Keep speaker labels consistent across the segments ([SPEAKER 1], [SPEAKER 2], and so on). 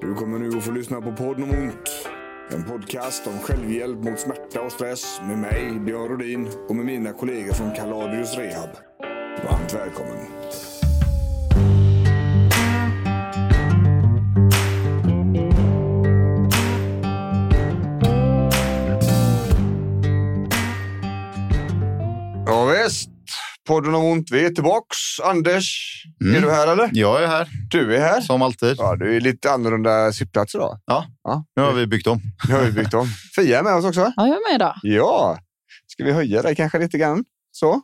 [SPEAKER 1] Du kommer nu att få lyssna på podden om ont. En podcast om självhjälp mot smärta och stress med mig, Björn Rhodin och med mina kollegor från Kaladius Rehab. Varmt välkommen. Ja, visst. Podden om ont. Vi är tillbaks. Anders,
[SPEAKER 2] Mm.
[SPEAKER 1] är du här eller?
[SPEAKER 2] Jag är här,
[SPEAKER 1] Du är här.
[SPEAKER 2] som alltid.
[SPEAKER 1] Ja, du är lite annorlunda sittplats idag.
[SPEAKER 2] Ja.
[SPEAKER 1] ja.
[SPEAKER 2] Nu har vi byggt om.
[SPEAKER 1] Nu har vi byggt om. Fia är med oss också.
[SPEAKER 3] Ja, jag är med idag.
[SPEAKER 1] Ja. Ska vi höja dig kanske lite grann? Så.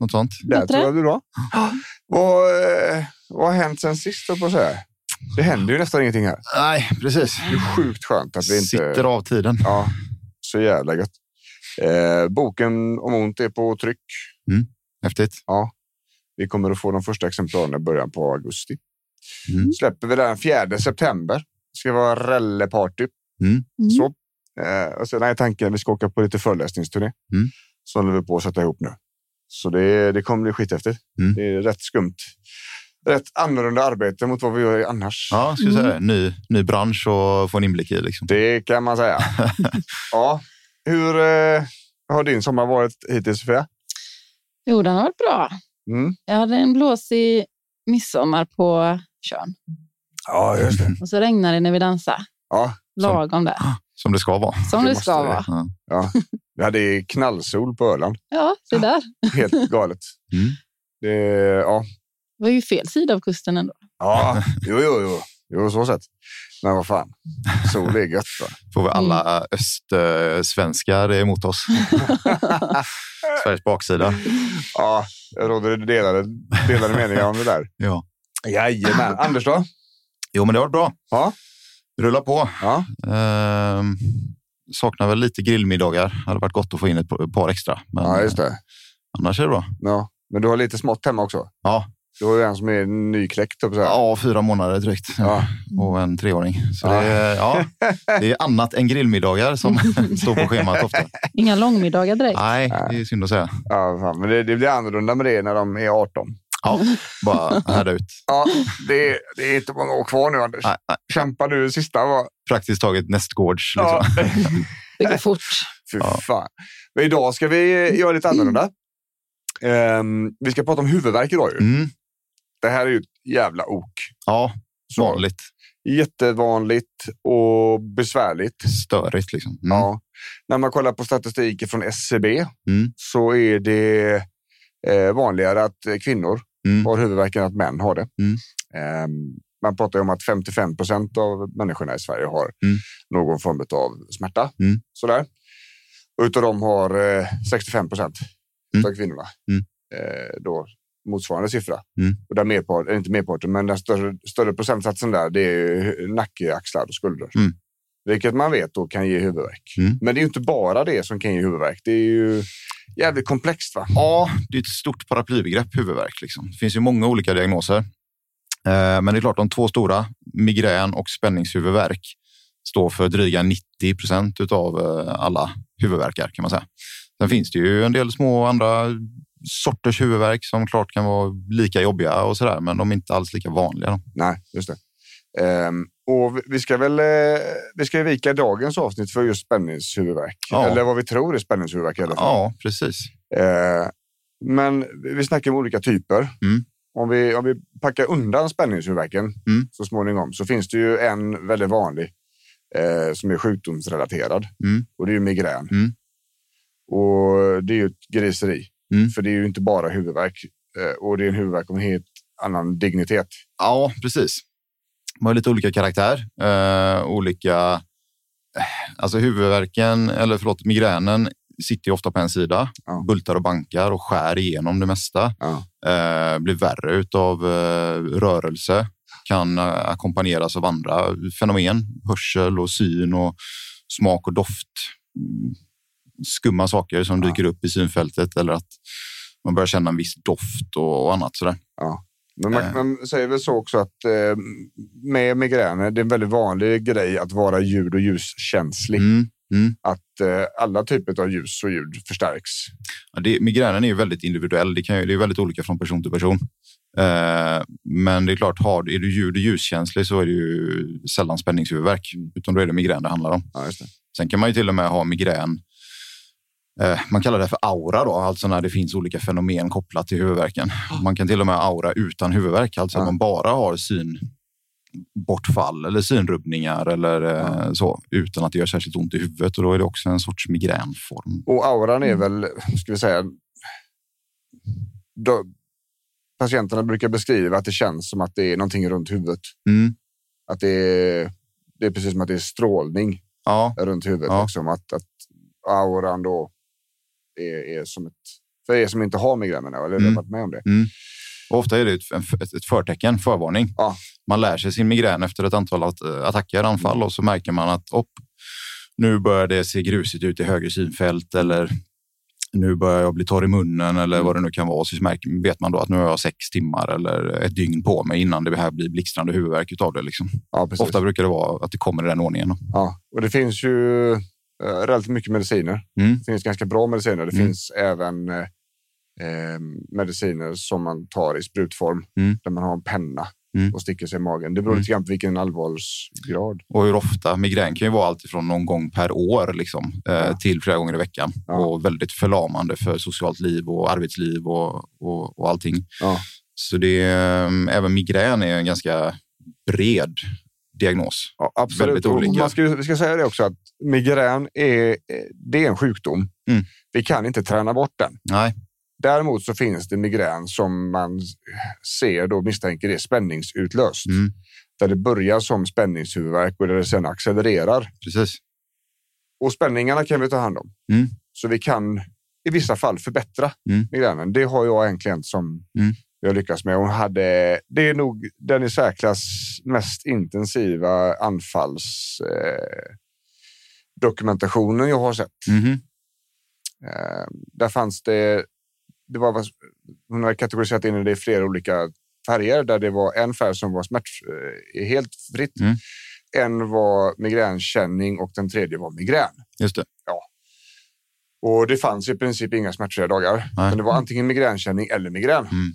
[SPEAKER 2] Något sånt.
[SPEAKER 1] Där
[SPEAKER 3] Bättre.
[SPEAKER 1] tror jag det blir bra. Vad, eh, vad har hänt sen sist, höll jag på att säga? Det händer ju nästan ingenting här.
[SPEAKER 2] Nej, precis.
[SPEAKER 1] Det är sjukt skönt att vi inte...
[SPEAKER 2] Sitter av tiden.
[SPEAKER 1] Ja, så jävla gött. Eh, boken om ont är på tryck.
[SPEAKER 2] Häftigt.
[SPEAKER 1] Vi kommer att få de första exemplaren i början på augusti.
[SPEAKER 2] Mm.
[SPEAKER 1] Släpper vi den 4 september. Det ska vara rallyparty.
[SPEAKER 3] Mm.
[SPEAKER 1] Så. Eh, och sen är tanken att vi ska åka på lite föreläsningsturné.
[SPEAKER 2] Mm.
[SPEAKER 1] Som håller vi på att sätta ihop nu. Så det, det kommer bli skithäftigt.
[SPEAKER 2] Mm.
[SPEAKER 1] Det är rätt skumt. Rätt annorlunda arbete mot vad vi gör annars.
[SPEAKER 2] Ja, ska jag säga
[SPEAKER 3] Mm.
[SPEAKER 2] det. Ny, ny bransch och få en inblick i. Liksom.
[SPEAKER 1] Det kan man säga. ja. Hur eh, har din sommar varit hittills, Sofia?
[SPEAKER 3] Jo, den har varit bra.
[SPEAKER 1] Mm.
[SPEAKER 3] Jag hade en blåsig midsommar på Tjörn
[SPEAKER 1] Ja, just det.
[SPEAKER 3] och så regnade det när vi dansade.
[SPEAKER 1] Ja.
[SPEAKER 3] Lagom där,
[SPEAKER 2] Ah, Som det ska vara.
[SPEAKER 3] som
[SPEAKER 1] det
[SPEAKER 3] det
[SPEAKER 1] måste
[SPEAKER 3] ska
[SPEAKER 1] det.
[SPEAKER 3] vara.
[SPEAKER 2] Ja.
[SPEAKER 1] Vi hade knallsol på Öland.
[SPEAKER 3] Ja, det där
[SPEAKER 1] Helt galet.
[SPEAKER 2] Mm.
[SPEAKER 1] Det, ja.
[SPEAKER 3] var ju fel sida av kusten ändå.
[SPEAKER 1] ja, jo, jo, jo. Jo, så sett. Men vad fan. Sol är gött, va?
[SPEAKER 2] Får vi alla östsvenskar emot oss. Sveriges baksida.
[SPEAKER 1] Ja, jag råder det delade, delade meningar om det där.
[SPEAKER 2] Ja.
[SPEAKER 1] Jajamän. Anders då?
[SPEAKER 2] Jo, men det var bra.
[SPEAKER 1] Ja.
[SPEAKER 2] Rulla på.
[SPEAKER 1] Ja.
[SPEAKER 2] Ehm, saknar väl lite grillmiddagar. Hade varit gott att få in ett par extra. Men
[SPEAKER 1] Ja, just det.
[SPEAKER 2] eh, annars är det bra.
[SPEAKER 1] Ja. Men du har lite smått hemma också?
[SPEAKER 2] Ja.
[SPEAKER 1] Du har ju en som är nykläckt, typ så här.
[SPEAKER 2] Ja, fyra månader drygt.
[SPEAKER 1] Ja.
[SPEAKER 2] och en treåring. Så
[SPEAKER 1] Ja.
[SPEAKER 2] det, är, ja, det är annat än grillmiddagar som står på schemat ofta.
[SPEAKER 3] Inga långmiddagar direkt.
[SPEAKER 2] Nej, det är synd att säga.
[SPEAKER 1] ja fan. Men det, det blir annorlunda med det när de är 18.
[SPEAKER 2] Bara härda ut.
[SPEAKER 1] Ja, det, det är inte många år kvar nu, Anders.
[SPEAKER 2] Nej, nej,
[SPEAKER 1] Kämpa nu, sista var...
[SPEAKER 2] praktiskt taget nästgårds. Liksom.
[SPEAKER 1] Ja.
[SPEAKER 3] Det går fort.
[SPEAKER 1] Fy
[SPEAKER 2] Ja.
[SPEAKER 1] fan. Men idag ska vi göra lite annorlunda. Ehm, vi ska prata om huvudvärk idag ju.
[SPEAKER 2] Mm,
[SPEAKER 1] Det här är ju ett jävla ok.
[SPEAKER 2] ja,
[SPEAKER 1] Så.
[SPEAKER 2] vanligt.
[SPEAKER 1] Jättevanligt och besvärligt.
[SPEAKER 2] Störigt liksom. Mm.
[SPEAKER 1] Ja. När man kollar på statistiken från SCB
[SPEAKER 2] Mm.
[SPEAKER 1] så är det eh, vanligare att eh, kvinnor
[SPEAKER 2] Mm.
[SPEAKER 1] har huvudvärk än att män har det.
[SPEAKER 2] Mm.
[SPEAKER 1] Ehm, man pratar ju om att 55 procent av människorna i Sverige har
[SPEAKER 2] Mm.
[SPEAKER 1] någon form av smärta.
[SPEAKER 2] Mm.
[SPEAKER 1] Sådär. Och utav dem har eh, 65 procent
[SPEAKER 2] Mm.
[SPEAKER 1] av kvinnorna
[SPEAKER 2] Mm.
[SPEAKER 1] eh, då motsvarande siffra.
[SPEAKER 2] Mm.
[SPEAKER 1] Och där merparten, inte merparten, men den större, större procentsatsen där, det är ju nacke, axlar och skulder.
[SPEAKER 2] Mm.
[SPEAKER 1] Vilket man vet då kan ge huvudvärk.
[SPEAKER 2] Mm.
[SPEAKER 1] Men det är ju inte bara det som kan ge huvudvärk. Det är ju jävligt komplext. va?
[SPEAKER 2] Ja, det är ett stort paraplybegrepp, huvudvärk. Liksom. Det finns ju många olika diagnoser. Eh, Men det är klart, de två stora, migrän och spänningshuvudvärk, står för dryga 90 procent av alla huvudvärkar kan man säga. Sen finns det ju en del små andra sorters huvudvärk som klart kan vara lika jobbiga och sådär, men de är inte alls lika vanliga. då.
[SPEAKER 1] Nej, just det. Ehm, och vi- vi ska väl eh, vi ska ju vika dagens avsnitt för just spänningshuvudvärk.
[SPEAKER 2] Ja.
[SPEAKER 1] Eller vad vi tror är spänningshuvudvärk i alla fall.
[SPEAKER 2] Ja, precis.
[SPEAKER 1] Eh, men vi snackar om olika typer.
[SPEAKER 2] Mm.
[SPEAKER 1] Om, vi, om vi packar undan spänningshuvudvärken
[SPEAKER 2] Mm.
[SPEAKER 1] så småningom så finns det ju en väldigt vanlig eh, som är sjukdomsrelaterad
[SPEAKER 2] Mm.
[SPEAKER 1] och det är ju migrän.
[SPEAKER 2] Mm.
[SPEAKER 1] Och det är ju ett griseri,
[SPEAKER 2] Mm.
[SPEAKER 1] för det är ju inte bara huvudvärk eh, och det är en huvudvärk av en helt annan dignitet.
[SPEAKER 2] Ja, precis. De har lite olika karaktär, eh, olika... eh, Alltså huvudvärken, eller förlåt, migränen sitter ju ofta på en sida,
[SPEAKER 1] Ja.
[SPEAKER 2] bultar och bankar och skär igenom det mesta.
[SPEAKER 1] Ja.
[SPEAKER 2] Eh, blir värre av eh, rörelse, kan eh, ackompanjeras av andra fenomen, hörsel och syn och smak och doft. Mm, Skumma saker som
[SPEAKER 1] Ja.
[SPEAKER 2] dyker upp i synfältet eller att man börjar känna en viss doft och, och annat sådär.
[SPEAKER 1] Men man,
[SPEAKER 2] Eh.
[SPEAKER 1] man säger väl så också att eh, med migräner, det är en väldigt vanlig grej att vara ljud och ljuskänslig.
[SPEAKER 2] Mm.
[SPEAKER 1] Att eh, alla typer av ljus och ljud förstärks.
[SPEAKER 2] Ja, det, migränen är ju väldigt individuell. Det, kan ju, det är väldigt olika från person till person. Eh, Men det är klart, har, är du ljud och ljuskänslig så är det ju sällan spänningshuvudvärk, utan då är det migrän det handlar om.
[SPEAKER 1] Ja, just det.
[SPEAKER 2] Sen kan man ju till och med ha migrän. eh, Man kallar det för aura, då, alltså när det finns olika fenomen kopplat till huvudvärken. Man kan till och med ha aura utan huvudvärk, alltså
[SPEAKER 1] Ja.
[SPEAKER 2] att man bara har synbortfall eller synrubbningar eller eh, så, utan att det gör särskilt ont i huvudet. Och då är det också en sorts migränform.
[SPEAKER 1] Och auran är väl, ska vi säga, då, patienterna brukar beskriva att det känns som att det är någonting runt huvudet.
[SPEAKER 2] Mm.
[SPEAKER 1] Att det är, det är precis som att det är strålning
[SPEAKER 2] Ja,
[SPEAKER 1] runt huvudet.
[SPEAKER 2] Ja.
[SPEAKER 1] Liksom, att, att auran då är, är som ett... För er som inte har migränerna, eller
[SPEAKER 2] Mm.
[SPEAKER 1] har varit med om det.
[SPEAKER 2] och ofta är det ett, en- ett, ett förtecken, förvarning.
[SPEAKER 1] Ja.
[SPEAKER 2] Man lär sig sin migrän efter ett antal att, eh, attacker,
[SPEAKER 1] Mm.
[SPEAKER 2] anfall och så märker man att upp, nu börjar det se grusigt ut i höger synfält eller nu börjar jag bli torr i munnen eller
[SPEAKER 1] Mm.
[SPEAKER 2] vad det nu kan vara. Så märker, vet man då att nu har jag sex timmar eller ett dygn på mig innan det här blir blixtrande huvudvärk utav det. Liksom.
[SPEAKER 1] Ja, precis.
[SPEAKER 2] Ofta brukar det vara att det kommer i den ordningen. då.
[SPEAKER 1] Ja. Och det finns ju eh, relativt mycket mediciner.
[SPEAKER 2] Mm.
[SPEAKER 1] Det finns ganska bra mediciner. Det
[SPEAKER 2] Mm.
[SPEAKER 1] finns även eh, eh, mediciner som man tar i sprutform
[SPEAKER 2] Mm.
[SPEAKER 1] där man har en penna
[SPEAKER 2] Mm.
[SPEAKER 1] och sticker sig i magen. Det beror
[SPEAKER 2] Mm.
[SPEAKER 1] lite grann på vilken allvarsgrad.
[SPEAKER 2] Och hur ofta? Migrän kan ju vara allt ifrån någon gång per år liksom, eh,
[SPEAKER 1] Ja.
[SPEAKER 2] till flera gånger i veckan.
[SPEAKER 1] Ja.
[SPEAKER 2] Och väldigt förlamande för socialt liv och arbetsliv och, och, och allting.
[SPEAKER 1] Ja.
[SPEAKER 2] Så det, är- även migrän är en ganska bred diagnos.
[SPEAKER 1] Ja, absolut.
[SPEAKER 2] Väldigt
[SPEAKER 1] Och
[SPEAKER 2] olika.
[SPEAKER 1] Man ska, ju- vi ska säga det också att migrän är, eh, det är en sjukdom.
[SPEAKER 2] Mm.
[SPEAKER 1] Vi kan inte träna bort den.
[SPEAKER 2] Nej,
[SPEAKER 1] Däremot så finns det migrän som man ser då misstänker är spänningsutlöst.
[SPEAKER 2] Mm.
[SPEAKER 1] Där det börjar som spänningshuvudvärk och där det sen accelererar.
[SPEAKER 2] precis.
[SPEAKER 1] Och spänningarna kan vi ta hand om.
[SPEAKER 2] Mm.
[SPEAKER 1] Så vi kan i vissa fall förbättra
[SPEAKER 2] Mm.
[SPEAKER 1] migränen. Det har jag en klient som
[SPEAKER 2] Mm.
[SPEAKER 1] jag lyckats med. Hon hade, det är nog den i särklass mest intensiva anfallsdokumentationen eh, dokumentationen jag har sett.
[SPEAKER 2] Mhm.
[SPEAKER 1] Eh, där fanns det, det var, vad- hon hade kategoriserat in det i flera olika färger där det var en färg som var smärt, eh, helt fritt.
[SPEAKER 2] Mm.
[SPEAKER 1] En var migränkänning och den tredje var migrän.
[SPEAKER 2] Just det.
[SPEAKER 1] Och det fanns i princip inga smärtfria dagar.
[SPEAKER 2] Nej.
[SPEAKER 1] Men det var antingen migränkänning eller migrän.
[SPEAKER 2] Mm.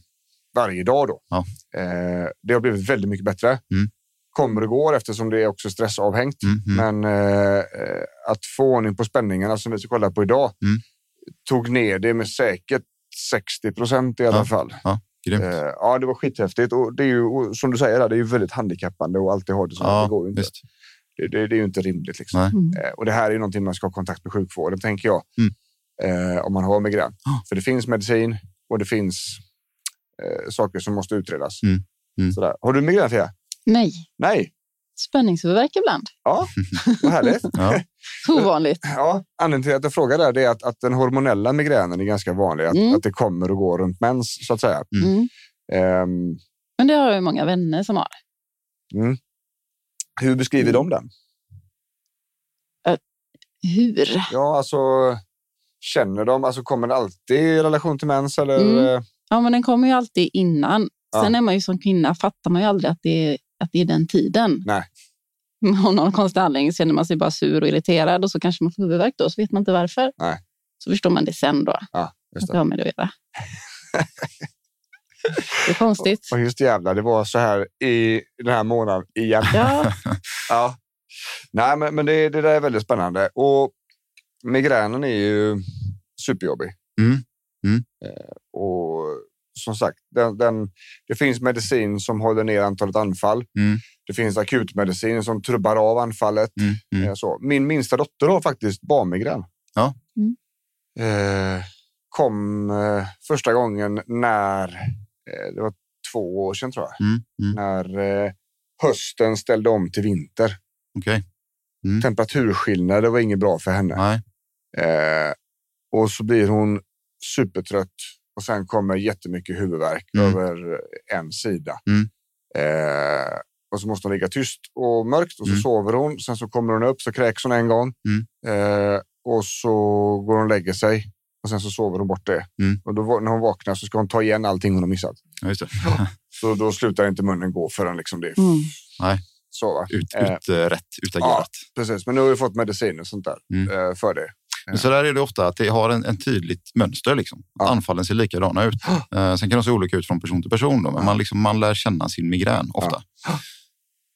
[SPEAKER 1] Varje dag då.
[SPEAKER 2] Ja.
[SPEAKER 1] Eh, det har blivit väldigt mycket bättre.
[SPEAKER 2] Mm.
[SPEAKER 1] Kommer och går eftersom det är också stressavhängt.
[SPEAKER 2] Mm, mm.
[SPEAKER 1] Men eh, eh, att få ordning på spänningarna som vi ska kolla på idag
[SPEAKER 2] Mm.
[SPEAKER 1] tog ner det med säkert 60 procent i alla
[SPEAKER 2] Ja.
[SPEAKER 1] fall.
[SPEAKER 2] Grymt.
[SPEAKER 1] Eh, ja, det var skithäftigt och det är ju och som du säger, där, det är ju väldigt handikappande och alltid ha det så.
[SPEAKER 2] Ja,
[SPEAKER 1] det går ju inte.
[SPEAKER 2] visst.
[SPEAKER 1] Det, det, det är ju inte rimligt. Liksom.
[SPEAKER 2] Nej.
[SPEAKER 3] Mm.
[SPEAKER 1] Eh, Och det här är ju någonting man ska ha kontakt med sjukvården, tänker jag.
[SPEAKER 2] Mm. Ah.
[SPEAKER 1] Eh, om man har migrän.
[SPEAKER 2] Ja.
[SPEAKER 1] För det finns medicin och det finns eh, saker som måste utredas.
[SPEAKER 2] Mm. Mm.
[SPEAKER 1] Sådär. Har du migrän, Fia?
[SPEAKER 3] Nej,
[SPEAKER 1] Nej,
[SPEAKER 3] spänningshuvudvärk ibland.
[SPEAKER 1] vad härligt.
[SPEAKER 2] Ja.
[SPEAKER 3] Ovanligt.
[SPEAKER 1] ja, anledningen till att jag frågar där det är att, att den hormonella migränen är ganska vanlig. Att,
[SPEAKER 3] Mm.
[SPEAKER 1] att det kommer och går runt mens, så att säga.
[SPEAKER 2] Mm.
[SPEAKER 3] Mm.
[SPEAKER 1] Ehm,
[SPEAKER 3] Men det har jag ju många vänner som har.
[SPEAKER 1] hur beskriver de den?
[SPEAKER 3] Hur?
[SPEAKER 1] Ja, alltså... Känner de, alltså kommer det alltid i relation till mens? Eller? eh,
[SPEAKER 3] Mm. Ja, men den kommer ju alltid innan.
[SPEAKER 1] Ja.
[SPEAKER 3] Sen är man ju som kvinna, fattar man ju aldrig att det är, att det är den tiden.
[SPEAKER 1] Nej.
[SPEAKER 3] Men Av någon konstig anledning känner man sig bara sur och irriterad och så kanske man får huvudvärk då, så vet man inte varför.
[SPEAKER 1] Nej.
[SPEAKER 3] Så förstår man det sen då,
[SPEAKER 1] Just
[SPEAKER 3] att
[SPEAKER 1] det.
[SPEAKER 3] det har med det att göra. det är konstigt.
[SPEAKER 1] Och just jävlar, det var så här i den här månaden igen.
[SPEAKER 3] Ja,
[SPEAKER 1] Ja. Nej, men, men det, det där är väldigt spännande. Och migränen är ju superjobbig.
[SPEAKER 2] Mm. Mm.
[SPEAKER 1] Eh, och som sagt, den, den, det finns medicin som håller ner antalet anfall.
[SPEAKER 2] Mm.
[SPEAKER 1] Det finns akutmedicin som trubbar av anfallet.
[SPEAKER 2] Mm, mm.
[SPEAKER 1] Eh, så. Min minsta dotter har faktiskt barnmigrän.
[SPEAKER 2] Ja.
[SPEAKER 3] Mm.
[SPEAKER 1] Eh, kom eh, första gången när, eh, det var två år sedan tror jag,
[SPEAKER 2] Mm, mm.
[SPEAKER 1] när eh, hösten ställde om till vinter.
[SPEAKER 2] Okej. Mm.
[SPEAKER 1] Temperaturskillnader var inget bra för henne.
[SPEAKER 2] Nej.
[SPEAKER 1] Eh, och så blir hon supertrött och sen kommer jättemycket huvudvärk
[SPEAKER 2] Mm.
[SPEAKER 1] över en sida.
[SPEAKER 2] Mm.
[SPEAKER 1] Eh, och så måste hon ligga tyst och mörkt och så
[SPEAKER 2] Mm.
[SPEAKER 1] sover hon. Sen så kommer hon upp så kräks hon en gång eh, och så går hon och lägger sig och sen så sover hon bort det.
[SPEAKER 2] Mm.
[SPEAKER 1] Och då, va- när hon vaknar så ska hon ta igen allting hon har missat.
[SPEAKER 2] Ja, just det.
[SPEAKER 1] Så då slutar inte munnen gå förrän liksom det är
[SPEAKER 3] mm.
[SPEAKER 1] så. Va?
[SPEAKER 2] Ut,
[SPEAKER 1] Eh.
[SPEAKER 2] ut, eh, rätt, utagerat.
[SPEAKER 1] Precis, men nu har vi fått medicin och sånt där
[SPEAKER 2] Mm.
[SPEAKER 1] eh, för det.
[SPEAKER 2] Men Så där är det ofta, att det har en, en tydligt mönster. Liksom. Att
[SPEAKER 1] Ja.
[SPEAKER 2] Anfallen ser likadana ut. Eh, sen kan de se olika ut från person till person, då, men
[SPEAKER 1] Ja.
[SPEAKER 2] man, liksom, man lär känna sin migrän ofta.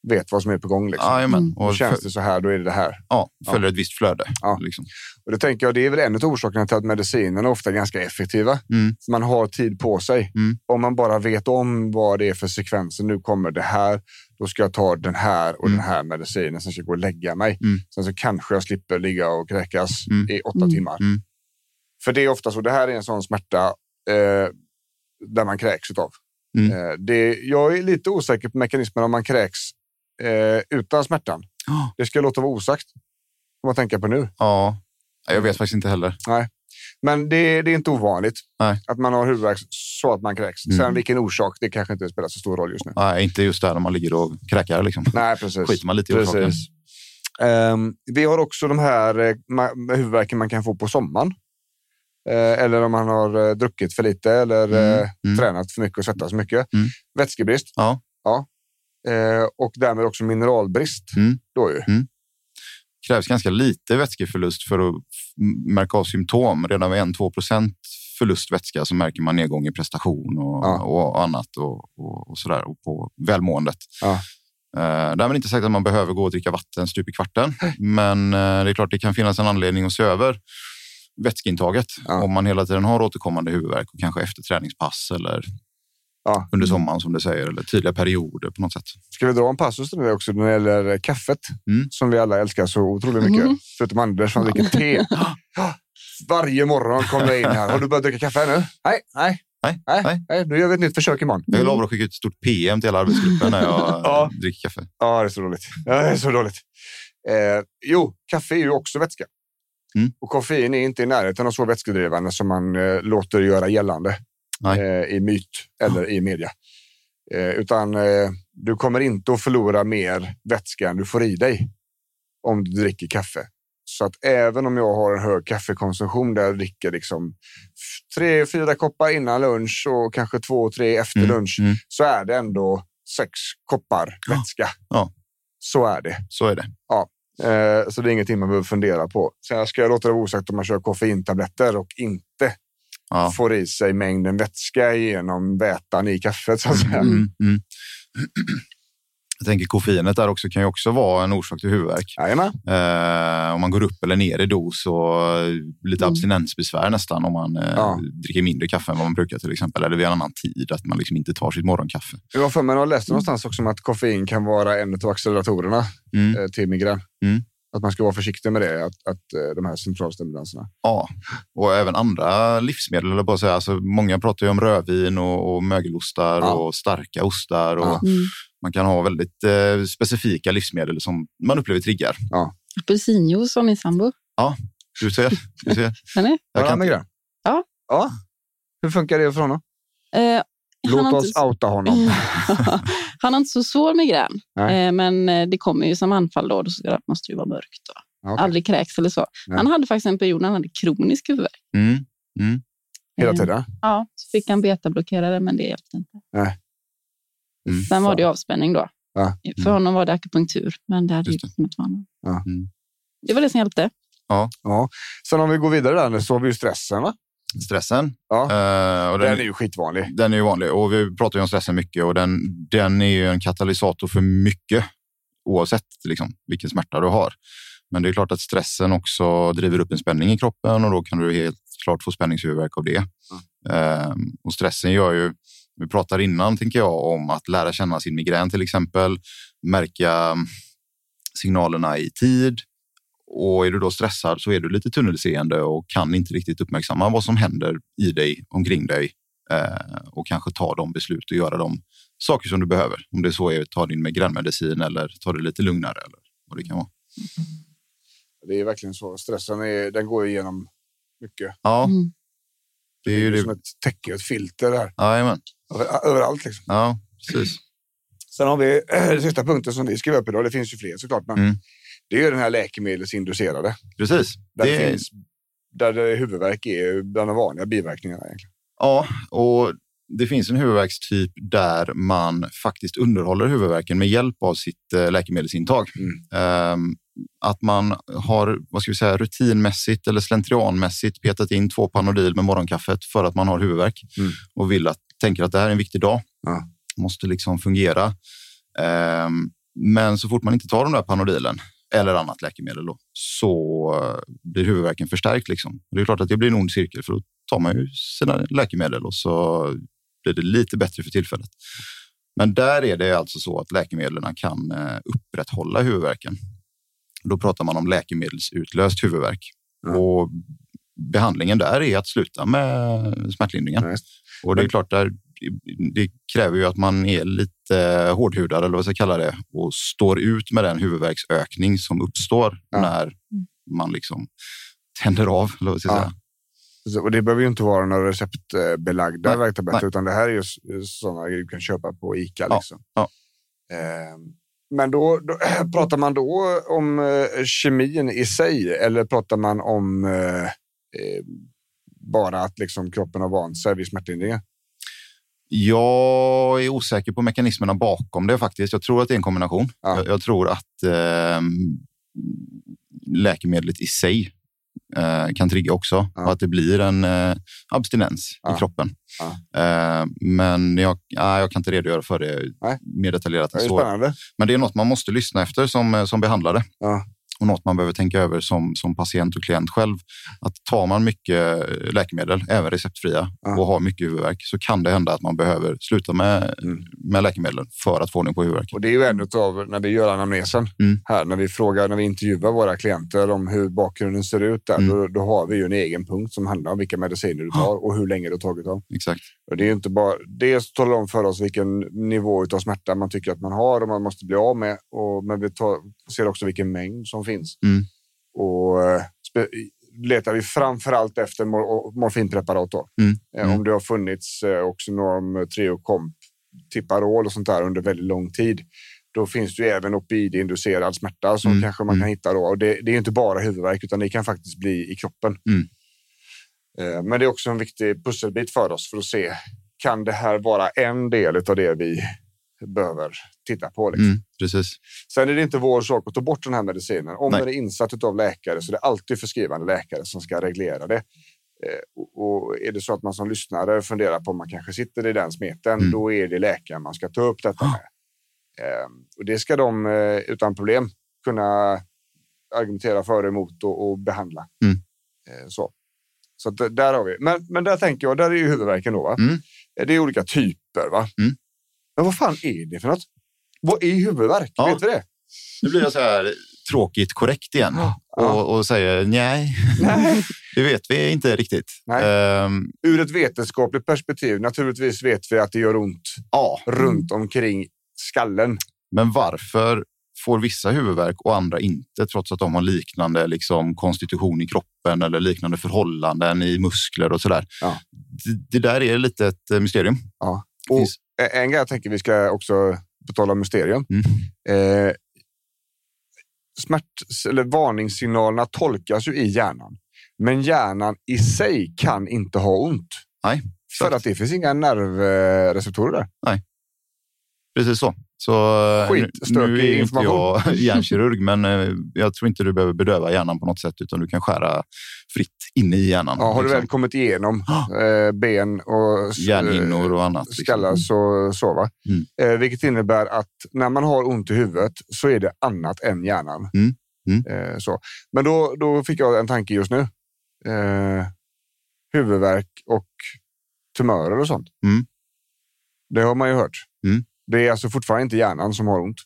[SPEAKER 1] Vet vad som är på gång. Liksom.
[SPEAKER 2] Jajamän.
[SPEAKER 3] Mm.
[SPEAKER 2] och
[SPEAKER 1] Känns
[SPEAKER 2] fö-
[SPEAKER 1] det så här, då är det det här.
[SPEAKER 2] ja, följer ett visst flöde.
[SPEAKER 1] Ja.
[SPEAKER 2] Liksom.
[SPEAKER 1] Och det tänker jag, det är väl en av orsakerna till att medicinerna ofta är ganska effektiva.
[SPEAKER 2] Mm.
[SPEAKER 1] Man har tid på sig.
[SPEAKER 2] Mm.
[SPEAKER 1] Om man bara vet om vad det är för sekvenser, nu kommer det här, då ska jag ta den här och
[SPEAKER 2] Mm.
[SPEAKER 1] den här medicinen, sen ska jag gå och lägga mig.
[SPEAKER 2] Mm.
[SPEAKER 1] Sen så kanske jag slipper ligga och kräkas
[SPEAKER 2] Mm.
[SPEAKER 1] i åtta
[SPEAKER 3] Mm.
[SPEAKER 1] timmar.
[SPEAKER 2] Mm.
[SPEAKER 1] För det är ofta så, det här är en sån smärta eh, där man kräks utav.
[SPEAKER 2] Mm.
[SPEAKER 1] Eh, det, jag är lite osäker på mekanismen om man kräks eh, utan smärtan.
[SPEAKER 2] Ja.
[SPEAKER 1] Det ska jag låta vara osagt. Om man tänker på nu.
[SPEAKER 2] Ja. Jag vet faktiskt inte heller.
[SPEAKER 1] Men det, det är inte ovanligt
[SPEAKER 2] Nej.
[SPEAKER 1] att man har huvudvärk så att man kräks.
[SPEAKER 2] Mm.
[SPEAKER 1] Sen vilken orsak, det kanske inte spelar så stor roll just nu.
[SPEAKER 2] Nej, inte just där när man ligger och kräkar. Liksom.
[SPEAKER 1] Nej, precis.
[SPEAKER 2] Skiter man lite i orsaken.
[SPEAKER 1] precis. Ehm, vi har också de här eh, ma- med huvudvärken man kan få på sommaren. Eh, eller om man har eh, druckit för lite eller
[SPEAKER 2] Mm,
[SPEAKER 1] eh,
[SPEAKER 2] mm.
[SPEAKER 1] tränat för mycket och svettats för mycket.
[SPEAKER 2] Mm.
[SPEAKER 1] Vätskebrist.
[SPEAKER 2] Ja.
[SPEAKER 1] ja. Eh, och därmed också mineralbrist.
[SPEAKER 2] Mm.
[SPEAKER 1] Då ju.
[SPEAKER 2] krävs ganska lite vätskeförlust för att f- märka av symptom. Redan vid 1-2 procent förlust vätska så märker man nedgång i prestation och,
[SPEAKER 1] Ja.
[SPEAKER 2] och annat och, och, och sådär och på välmåendet.
[SPEAKER 1] Ja.
[SPEAKER 2] Eh, därmed inte sagt att man behöver gå och dricka vatten stup i kvarten, men eh, det är klart det kan finnas en anledning att se över vätskeintaget
[SPEAKER 1] Ja.
[SPEAKER 2] om man hela tiden har återkommande huvudvärk och kanske efter träningspass eller
[SPEAKER 1] Ja.
[SPEAKER 2] under sommaren som du säger eller tydliga perioder på något sätt.
[SPEAKER 1] Ska vi dra en passus till det också när det gäller kaffet
[SPEAKER 2] Mm.
[SPEAKER 1] som vi alla älskar så otroligt mycket.
[SPEAKER 3] Mm.
[SPEAKER 1] Förutom Anders som dricker te. Varje morgon kommer jag in här. Har du börjat dricka kaffe nu? Nej, nej,
[SPEAKER 2] Nej,
[SPEAKER 1] nej,
[SPEAKER 2] nej.
[SPEAKER 1] nej. Nu gör vi ett nytt försök imorgon.
[SPEAKER 2] Jag
[SPEAKER 3] Mm.
[SPEAKER 2] lovar att skicka ut ett stort PM till hela arbetsgruppen när jag eh,
[SPEAKER 1] Ja.
[SPEAKER 2] dricker kaffe.
[SPEAKER 1] Ja, det är så dåligt. Ja, det är så dåligt. Eh, jo, kaffe är ju också vätska.
[SPEAKER 2] Mm.
[SPEAKER 1] Och koffein är inte i närheten av så vätskedrivande som man eh, låter göra gällande
[SPEAKER 2] Nej.
[SPEAKER 1] eh, i myt eller i media. Eh, utan eh, du kommer inte att förlora mer vätska än du får i dig om du dricker kaffe. Så att även om jag har en hög kaffekonsumtion där jag dricker liksom f- tre, fyra koppar innan lunch och kanske två, tre efter
[SPEAKER 2] Mm,
[SPEAKER 1] lunch
[SPEAKER 2] mm.
[SPEAKER 1] så är det ändå sex koppar
[SPEAKER 2] Ja,
[SPEAKER 1] vätska.
[SPEAKER 2] ja.
[SPEAKER 1] Så är det.
[SPEAKER 2] Så är det.
[SPEAKER 1] Eh, så det är ingenting man behöver fundera på. Sen ska jag låta det vara osagt om man kör koffeintabletter och inte
[SPEAKER 2] Ja.
[SPEAKER 1] får i sig mängden vätska genom vätan i kaffet. Så att säga.
[SPEAKER 2] Mm. Mm. Jag tänker koffeinet där också kan ju också vara en orsak till huvudvärk.
[SPEAKER 1] Jajamän.
[SPEAKER 2] Eh, om man går upp eller ner i dos och eh, lite
[SPEAKER 3] Mm.
[SPEAKER 2] abstinensbesvär nästan om man eh,
[SPEAKER 1] Ja.
[SPEAKER 2] dricker mindre kaffe än vad man brukar till exempel. Eller vid en annan tid, att man liksom inte tar sitt morgonkaffe.
[SPEAKER 1] Jag har för mig att jag läste någonstans också om att koffein kan vara en av acceleratorerna
[SPEAKER 2] Mm.
[SPEAKER 1] eh, till migrän.
[SPEAKER 2] Mm.
[SPEAKER 1] Att man ska vara försiktig med det, att, att eh, de här centralstimulanserna.
[SPEAKER 2] Ja, och även andra livsmedel. Eller bara säga. Alltså, många pratar ju om rödvin och, och mögelostar
[SPEAKER 1] Ja.
[SPEAKER 2] och starka ostar. Och
[SPEAKER 1] Ja.
[SPEAKER 3] Mm.
[SPEAKER 2] Man kan ha väldigt eh, specifika livsmedel som man upplever triggar.
[SPEAKER 3] Apelsinjuice av min sambo.
[SPEAKER 2] Du ser. Du ser.
[SPEAKER 3] Den är.
[SPEAKER 2] Jag
[SPEAKER 1] Har han
[SPEAKER 2] kan,
[SPEAKER 1] migrän?
[SPEAKER 3] Ja.
[SPEAKER 1] ja. Hur funkar det för honom?
[SPEAKER 3] Eh, han
[SPEAKER 1] Låt
[SPEAKER 3] har
[SPEAKER 1] oss
[SPEAKER 3] inte- Mm.
[SPEAKER 1] outa honom.
[SPEAKER 3] han har inte så svår migrän,
[SPEAKER 1] Nej.
[SPEAKER 3] eh, men eh, det kommer ju som anfall då. Då ska- det måste det ju vara mörkt. Då.
[SPEAKER 1] Ja, okej.
[SPEAKER 3] Aldrig kräks eller så.
[SPEAKER 1] Nej.
[SPEAKER 3] Han hade faktiskt en period när han hade kronisk huvudvärk.
[SPEAKER 2] mm.
[SPEAKER 1] Hela
[SPEAKER 3] Eh,
[SPEAKER 1] tiden?
[SPEAKER 3] Ja, så fick han betablockerare, men det hjälpte inte.
[SPEAKER 1] Nej.
[SPEAKER 2] Mm.
[SPEAKER 3] Sen var det ju avspänning då.
[SPEAKER 1] Ja.
[SPEAKER 2] Mm.
[SPEAKER 3] För honom var det akupunktur, men det hade ju
[SPEAKER 2] Just det.
[SPEAKER 3] liksom inte varit honom.
[SPEAKER 1] Ja.
[SPEAKER 2] Mm.
[SPEAKER 3] Det var det som hjälpte.
[SPEAKER 1] Sen om vi går vidare där så har vi ju stressen. Va?
[SPEAKER 2] stressen.
[SPEAKER 1] Ja.
[SPEAKER 2] Eh, och
[SPEAKER 1] Den
[SPEAKER 2] den,
[SPEAKER 1] är ju skitvanlig.
[SPEAKER 2] den är ju vanlig och vi pratar ju om stressen mycket och den, den är ju en katalysator för mycket oavsett liksom, vilken smärta du har. Men det är klart att stressen också driver upp en spänning i kroppen och då kan du helt klart få spänningshuvudvärk av det. Eh, och stressen gör ju, vi pratade innan tänker jag om att lära känna sin migrän till exempel, märka signalerna i tid. Och är du då stressad så är du lite tunnelseende och kan inte riktigt uppmärksamma vad som händer i dig, omkring dig eh, och kanske ta de beslut och göra de saker som du behöver. Om det så är att ta din migränmedicin eller ta det lite lugnare eller vad det kan vara.
[SPEAKER 1] Det är verkligen så. Stressen är, den går igenom mycket.
[SPEAKER 2] Ja,
[SPEAKER 3] Mm.
[SPEAKER 2] det är ju
[SPEAKER 1] som
[SPEAKER 2] det.
[SPEAKER 1] ett täcke, ett filter där.
[SPEAKER 2] Jajamän.
[SPEAKER 1] Över, överallt liksom.
[SPEAKER 2] Ja, precis.
[SPEAKER 1] Sen har vi den sista punkten som vi skrev upp idag. Det finns ju fler såklart, men
[SPEAKER 2] Mm.
[SPEAKER 1] det är ju den här läkemedelsinducerade.
[SPEAKER 2] precis.
[SPEAKER 1] Där
[SPEAKER 2] Det-
[SPEAKER 1] det finns där det huvudvärk är bland de vanliga biverkningarna. Egentligen.
[SPEAKER 2] Ja, och det finns en huvudvärkstyp där man faktiskt underhåller huvudvärken med hjälp av sitt eh, läkemedelsintag.
[SPEAKER 1] Mm.
[SPEAKER 2] Ehm, Att man har vad ska vi säga, rutinmässigt eller slentrianmässigt petat in två Panodil med morgonkaffet för att man har huvudvärk
[SPEAKER 1] Mm.
[SPEAKER 2] och vill att, tänker att det här är en viktig dag.
[SPEAKER 1] Ja.
[SPEAKER 2] Måste liksom fungera. Ehm, Men så fort man inte tar de där Panodilen eller annat läkemedel då, så eh, blir huvudvärken förstärkt. Liksom. Och det är klart att det blir en ond cirkel för då tar man ju sina läkemedel och så blir det lite bättre för tillfället. Men där är det alltså så att läkemedlen kan eh, upprätthålla huvudvärken. Då pratar man om läkemedelsutlöst huvudvärk.
[SPEAKER 1] Ja.
[SPEAKER 2] Och behandlingen där är att sluta med smärtlindringen.
[SPEAKER 1] Ja, just.
[SPEAKER 2] och det är
[SPEAKER 1] Men-
[SPEAKER 2] klart, där, det kräver ju att man är lite hårdhudad eller vad jag ska kalla det och står ut med den huvudvärksökning som uppstår
[SPEAKER 1] Ja. Mm.
[SPEAKER 2] när man liksom tänder av. Eller vad jag ska
[SPEAKER 1] Ja.
[SPEAKER 2] säga.
[SPEAKER 1] Så- Och det behöver ju inte vara några receptbelagda
[SPEAKER 2] Nej,
[SPEAKER 1] värktabletter, utan det här är ju s- sådana grejer du kan köpa på Ica.
[SPEAKER 2] Ja,
[SPEAKER 1] Liksom.
[SPEAKER 2] ja.
[SPEAKER 1] Ehm, Men då, då pratar man då om eh, kemin i sig eller pratar man om eh, eh, bara att liksom kroppen har vant sig vid smärtlindringen?
[SPEAKER 2] Jag är osäker på mekanismerna bakom det faktiskt. Jag tror att det är en kombination.
[SPEAKER 1] Ja.
[SPEAKER 2] Jag, jag tror att eh, läkemedlet i sig eh, kan trigga också
[SPEAKER 1] Ja.
[SPEAKER 2] och att det blir en eh, abstinens
[SPEAKER 1] Ja.
[SPEAKER 2] i kroppen. Eh, men jag, nej, jag kan inte redogöra för det
[SPEAKER 1] Nej.
[SPEAKER 2] mer detaljerat
[SPEAKER 1] Det
[SPEAKER 2] än
[SPEAKER 1] är ju
[SPEAKER 2] så.
[SPEAKER 1] spännande.
[SPEAKER 2] Men det är något man måste lyssna efter som, eh, som behandlare.
[SPEAKER 1] Ja.
[SPEAKER 2] Och något man behöver tänka över som, som patient och klient själv. Att tar man mycket eh, läkemedel, även receptfria,
[SPEAKER 1] Ja.
[SPEAKER 2] och har mycket huvudvärk så kan det hända att man behöver sluta med,
[SPEAKER 1] Mm.
[SPEAKER 2] med läkemedlen för att få ordning på huvudvärken.
[SPEAKER 1] Och det är ju en av när vi gör anamnesen
[SPEAKER 2] Mm.
[SPEAKER 1] här, när vi frågar, när vi intervjuar våra klienter om hur bakgrunden ser ut där,
[SPEAKER 2] Mm.
[SPEAKER 1] då, då har vi ju en egen punkt som handlar om vilka mediciner du tar och hur länge du har tagit dem.
[SPEAKER 2] Exakt.
[SPEAKER 1] Och det är ju inte bara dels talar om för oss vilken nivå av smärta man tycker att man har och man måste bli av med. Och, men vi tar, ser också vilken mängd som finns.
[SPEAKER 2] Mm.
[SPEAKER 1] Och eh, spe, letar vi framför allt efter mor, och morfinpreparat. Då.
[SPEAKER 2] Mm.
[SPEAKER 1] Eh, Om det har funnits eh, Oxynorm, Treokomp, Tipparol och sånt där under väldigt lång tid. Då finns det ju även opioid-inducerad smärta som
[SPEAKER 2] Mm.
[SPEAKER 1] kanske man
[SPEAKER 2] Mm.
[SPEAKER 1] kan hitta. Då. Och det, det är ju inte bara huvudvärk utan det kan faktiskt bli i kroppen.
[SPEAKER 2] Mm.
[SPEAKER 1] Eh, Men det är också en viktig pusselbit för oss för att se kan det här vara en del av det vi behöver titta på. Liksom.
[SPEAKER 2] Mm, precis.
[SPEAKER 1] Sen är det inte vår sak att ta bort den här medicinen. Om
[SPEAKER 2] Nej.
[SPEAKER 1] den är insatt av läkare så är det alltid förskrivande läkare som ska reglera det. Eh, och- Och är det så att man som lyssnare funderar på om man kanske sitter i den smeten,
[SPEAKER 2] Mm. Ah.
[SPEAKER 1] då är det läkaren man ska ta upp detta med. Eh, Och det ska de eh, utan problem kunna argumentera för och emot och, och behandla.
[SPEAKER 2] Mm.
[SPEAKER 1] Eh, Så. Så att, det- där har vi. Men, men där tänker jag, där är ju huvudvärken då. Va?
[SPEAKER 2] Mm.
[SPEAKER 1] Eh, Det är olika typer. va?
[SPEAKER 2] Mm.
[SPEAKER 1] Men vad fan är det för något? Vad är huvudvärk?
[SPEAKER 2] Ja.
[SPEAKER 1] Vet vi det?
[SPEAKER 2] Nu blir jag så här tråkigt korrekt igen
[SPEAKER 1] Ja.
[SPEAKER 2] och, och säger nej,
[SPEAKER 1] Nej.
[SPEAKER 2] det vet vi inte riktigt.
[SPEAKER 1] Nej.
[SPEAKER 2] Ehm,
[SPEAKER 1] Ur ett vetenskapligt perspektiv, naturligtvis vet vi att det gör ont
[SPEAKER 2] ja,
[SPEAKER 1] runt
[SPEAKER 2] Mm.
[SPEAKER 1] omkring skallen.
[SPEAKER 2] Men varför får vissa huvudvärk och andra inte trots att de har liknande liksom, konstitution i kroppen eller liknande förhållanden i muskler och sådär?
[SPEAKER 1] Ja.
[SPEAKER 2] Det, det där är lite ett eh, mysterium.
[SPEAKER 1] Ja. Och-
[SPEAKER 2] Finns-
[SPEAKER 1] Ä- En grej jag tänker vi ska också betala mysterium.
[SPEAKER 2] Mm.
[SPEAKER 1] Eh, smärt, eller varningssignalerna tolkas ju i hjärnan, men hjärnan i sig kan inte ha ont.
[SPEAKER 2] Nej,
[SPEAKER 1] För
[SPEAKER 2] exakt.
[SPEAKER 1] att det finns inga nervreceptorer där.
[SPEAKER 2] Precis så. så eh,
[SPEAKER 1] Skit,
[SPEAKER 2] nu, nu
[SPEAKER 1] stökig
[SPEAKER 2] är inte
[SPEAKER 1] information.
[SPEAKER 2] jag hjärnkirurg, men eh, jag tror inte du behöver bedöva hjärnan på något sätt, utan du kan skära fritt inne i hjärnan.
[SPEAKER 1] Ja, har du
[SPEAKER 2] liksom.
[SPEAKER 1] väl kommit igenom
[SPEAKER 2] Ah.
[SPEAKER 1] eh, ben och s-
[SPEAKER 2] Hjärnhinnor och annat. liksom.
[SPEAKER 1] skallar så, så va?
[SPEAKER 2] Mm.
[SPEAKER 1] Eh, vilket innebär att när man har ont i huvudet så är det annat än hjärnan.
[SPEAKER 2] Mm. Mm.
[SPEAKER 1] Eh, så. Men då, då fick jag en tanke just nu. Eh, huvudvärk och tumörer och sånt.
[SPEAKER 2] Mm.
[SPEAKER 1] Det har man ju hört.
[SPEAKER 2] Mm.
[SPEAKER 1] Det är alltså fortfarande inte hjärnan som har ont.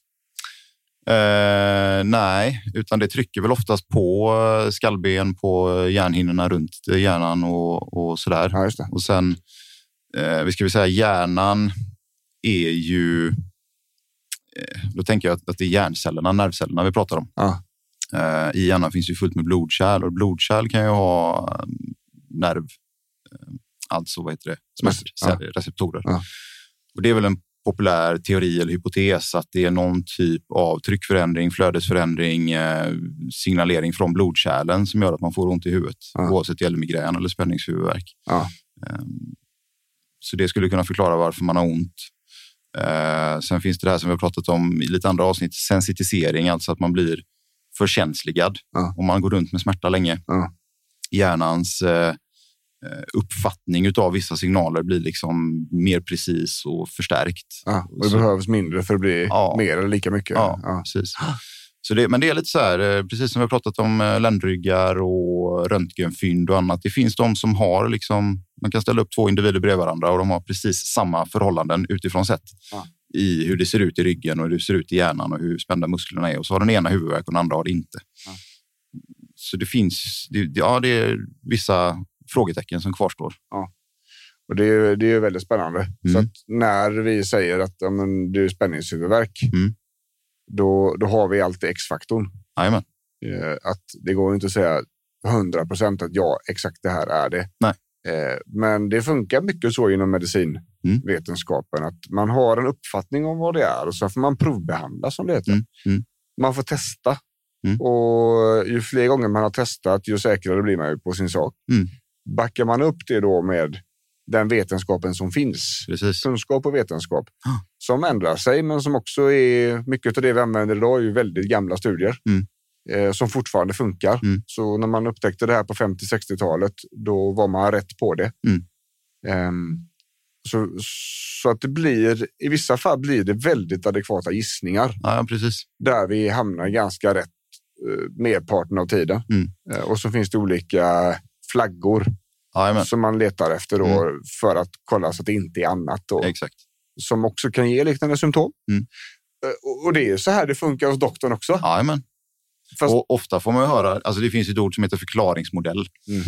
[SPEAKER 2] Eh, nej, utan det trycker väl oftast på eh, skallben, på eh, hjärnhinnorna runt eh, hjärnan och, och sådär.
[SPEAKER 1] Ja, just det.
[SPEAKER 2] Och sen, eh, vi ska väl säga hjärnan är ju... Eh, då tänker jag att, att det är hjärncellerna, nervcellerna vi pratar om.
[SPEAKER 1] Ja.
[SPEAKER 2] Eh, I hjärnan finns ju fullt med blodkärl och blodkärl kan ju ha eh, nerv, eh, alltså vad heter det, smärtreceptorer.
[SPEAKER 1] Ja.
[SPEAKER 2] Och det är väl en populär teori eller hypotes att det är någon typ av tryckförändring, flödesförändring, eh, signalering från blodkärlen som gör att man får ont i huvudet,
[SPEAKER 1] Ja.
[SPEAKER 2] oavsett om det gäller migrän eller spänningshuvudvärk.
[SPEAKER 1] Ja.
[SPEAKER 2] Ehm, Så det skulle kunna förklara varför man har ont. Eh, sen finns det det här som vi har pratat om i lite andra avsnitt, sensitisering, alltså att man blir förkänsligad
[SPEAKER 1] Ja.
[SPEAKER 2] om man går runt med smärta länge.
[SPEAKER 1] Ja.
[SPEAKER 2] Hjärnans eh, eh, uppfattning av vissa signaler blir liksom mer precis och förstärkt.
[SPEAKER 1] Ja, och det
[SPEAKER 2] Så-
[SPEAKER 1] behövs mindre för att bli
[SPEAKER 2] Ja.
[SPEAKER 1] mer eller lika mycket.
[SPEAKER 2] Ja,
[SPEAKER 1] Ja.
[SPEAKER 2] precis. Så det, men det är lite så här, eh, precis som vi har pratat om eh, ländryggar och röntgenfynd och annat. Det finns de som har liksom, man kan ställa upp två individer bredvid varandra och de har precis samma förhållanden utifrån sett
[SPEAKER 1] Ja.
[SPEAKER 2] i hur det ser ut i ryggen och hur det ser ut i hjärnan och hur spända musklerna är. Och så har den ena huvudvärk och den andra har det inte.
[SPEAKER 1] Ja.
[SPEAKER 2] Så det finns, det, det- ja, det är vissa frågetecken som kvarstår.
[SPEAKER 1] Och det är ju det är ju väldigt spännande. Så
[SPEAKER 2] Mm.
[SPEAKER 1] att när vi säger att ja, men, du är spänningshuvudvärk,
[SPEAKER 2] Mm.
[SPEAKER 1] då, då har vi alltid X-faktorn.
[SPEAKER 2] Jajamän.
[SPEAKER 1] Eh, att det går inte att säga 100 procent att ja, exakt det här är det.
[SPEAKER 2] Nej.
[SPEAKER 1] Eh, men det funkar mycket så inom medicinvetenskapen att man har en uppfattning om vad det är och så får man provbehandla som det heter.
[SPEAKER 2] Mm, mm.
[SPEAKER 1] Man får testa
[SPEAKER 2] Mm.
[SPEAKER 1] och ju fler gånger man har testat, ju säkrare blir man ju på sin sak.
[SPEAKER 2] Mm.
[SPEAKER 1] Backar man upp det då med den vetenskapen som finns,
[SPEAKER 2] Precis.
[SPEAKER 1] kunskap och vetenskap
[SPEAKER 2] Ja.
[SPEAKER 1] som ändrar sig, men som också är mycket av det vi använder idag är ju väldigt gamla studier
[SPEAKER 2] Mm.
[SPEAKER 1] eh, som fortfarande funkar.
[SPEAKER 2] Mm.
[SPEAKER 1] Så när man upptäckte det här på 50-60-talet, då var man rätt på det.
[SPEAKER 2] Mm.
[SPEAKER 1] Ehm, så, så att det blir, i vissa fall blir det väldigt adekvata gissningar
[SPEAKER 2] Ja, precis.
[SPEAKER 1] där vi hamnar ganska rätt eh, merparten av tiden.
[SPEAKER 2] Mm.
[SPEAKER 1] Eh, och så finns det olika flaggor
[SPEAKER 2] Jajamän.
[SPEAKER 1] som man letar efter då
[SPEAKER 2] Mm.
[SPEAKER 1] för att kolla så att det inte är annat. Då
[SPEAKER 2] Exakt.
[SPEAKER 1] som också kan ge liknande symptom.
[SPEAKER 2] Mm.
[SPEAKER 1] Eh, och- Och det är ju så här det funkar hos doktorn också.
[SPEAKER 2] Jajamän.
[SPEAKER 1] Fast-
[SPEAKER 2] Och ofta får man ju höra, alltså det finns ett ord som heter förklaringsmodell.
[SPEAKER 1] Mm.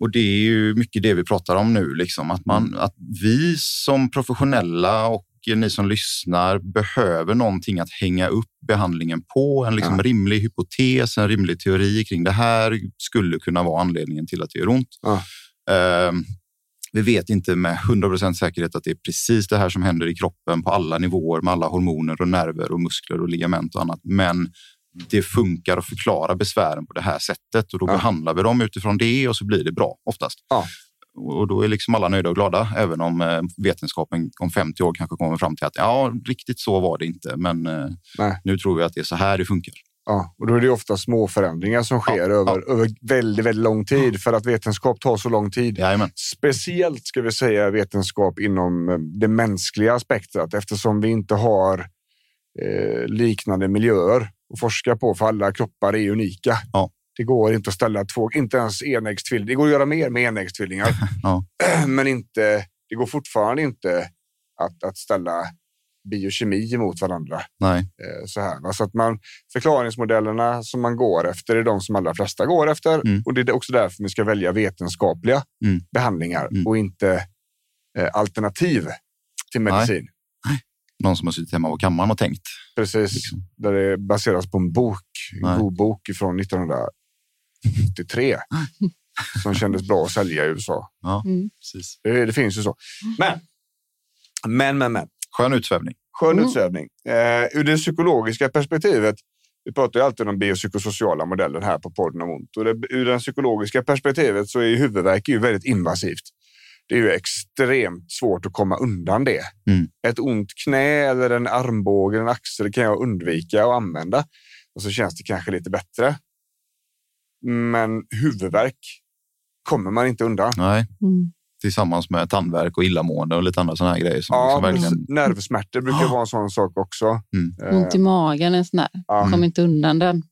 [SPEAKER 2] Och det är ju mycket det vi pratar om nu, liksom. att, man,
[SPEAKER 1] Mm.
[SPEAKER 2] att vi som professionella och ni som lyssnar behöver någonting att hänga upp behandlingen på. En liksom
[SPEAKER 1] Ja.
[SPEAKER 2] rimlig hypotes, en rimlig teori kring det här skulle kunna vara anledningen till att det gör ont.
[SPEAKER 1] Ja.
[SPEAKER 2] Ehm, vi vet inte med 100 säkerhet att det är precis det här som händer i kroppen på alla nivåer med alla hormoner och nerver och muskler och ligament och annat. Men det funkar att förklara besvären på det här sättet och då
[SPEAKER 1] Ja.
[SPEAKER 2] behandlar vi dem utifrån det och så blir det bra oftast.
[SPEAKER 1] Ja.
[SPEAKER 2] Och då är liksom alla nöjda och glada, även om eh, vetenskapen om 50 år kanske kommer fram till att ja, riktigt så var det inte, men eh,
[SPEAKER 1] Nej.
[SPEAKER 2] nu tror vi att det är så här det funkar.
[SPEAKER 1] Ja, och då är det ju ofta små förändringar som sker över, över väldigt, väldigt lång tid för att vetenskap tar så lång tid.
[SPEAKER 2] Jajamän,
[SPEAKER 1] Speciellt ska vi säga vetenskap inom eh, det mänskliga aspektet eftersom vi inte har eh, liknande miljöer att forska på för alla kroppar är unika.
[SPEAKER 2] Ja.
[SPEAKER 1] Det går inte att ställa två, inte ens enäggstvillingar. Det går att göra mer med enäggstvillingar,
[SPEAKER 2] Ja.
[SPEAKER 1] men inte. Det går fortfarande inte att, att ställa biokemi mot varandra.
[SPEAKER 2] nej,
[SPEAKER 1] Eh, så här. va. Så att man, förklaringsmodellerna som man går efter är de som allra flesta går efter.
[SPEAKER 2] Mm.
[SPEAKER 1] Och det är också därför vi ska välja vetenskapliga
[SPEAKER 2] Mm.
[SPEAKER 1] behandlingar
[SPEAKER 2] Mm.
[SPEAKER 1] och inte eh, alternativ till
[SPEAKER 2] Nej.
[SPEAKER 1] medicin.
[SPEAKER 2] någon som har suttit hemma på kammaren och tänkt.
[SPEAKER 1] Precis,
[SPEAKER 2] Liksom.
[SPEAKER 1] där det baseras på en bok,
[SPEAKER 2] Nej.
[SPEAKER 1] en god bok från 1993 som kändes bra att sälja i USA.
[SPEAKER 2] Precis.
[SPEAKER 1] Det, det finns ju så.
[SPEAKER 2] Mm.
[SPEAKER 1] Men, men, men, men.
[SPEAKER 2] Skön utsvävning.
[SPEAKER 1] Skön
[SPEAKER 3] Mm.
[SPEAKER 1] utsvävning. Eh, ur det psykologiska perspektivet, vi pratar ju alltid om biopsykosociala modellen här på podden om ont. Och det, ur det psykologiska perspektivet så är ju huvudvärk ju väldigt invasivt. Det är ju extremt svårt att komma undan det.
[SPEAKER 2] Mm.
[SPEAKER 1] Ett ont knä eller en armbåge, eller en axel kan jag undvika och använda. Och så känns det kanske lite bättre. Men huvudvärk kommer man inte undan.
[SPEAKER 2] Nej,
[SPEAKER 3] Mm.
[SPEAKER 2] tillsammans med tandvärk och illamående och lite andra sådana här grejer. Som
[SPEAKER 1] Ja,
[SPEAKER 2] liksom verkligen...
[SPEAKER 1] nervsmärtor brukar
[SPEAKER 2] Ja.
[SPEAKER 1] vara en sån sak också. Eh.
[SPEAKER 3] Mm. Ont i magen, en sån där.
[SPEAKER 1] ja.
[SPEAKER 3] Kom inte undan den.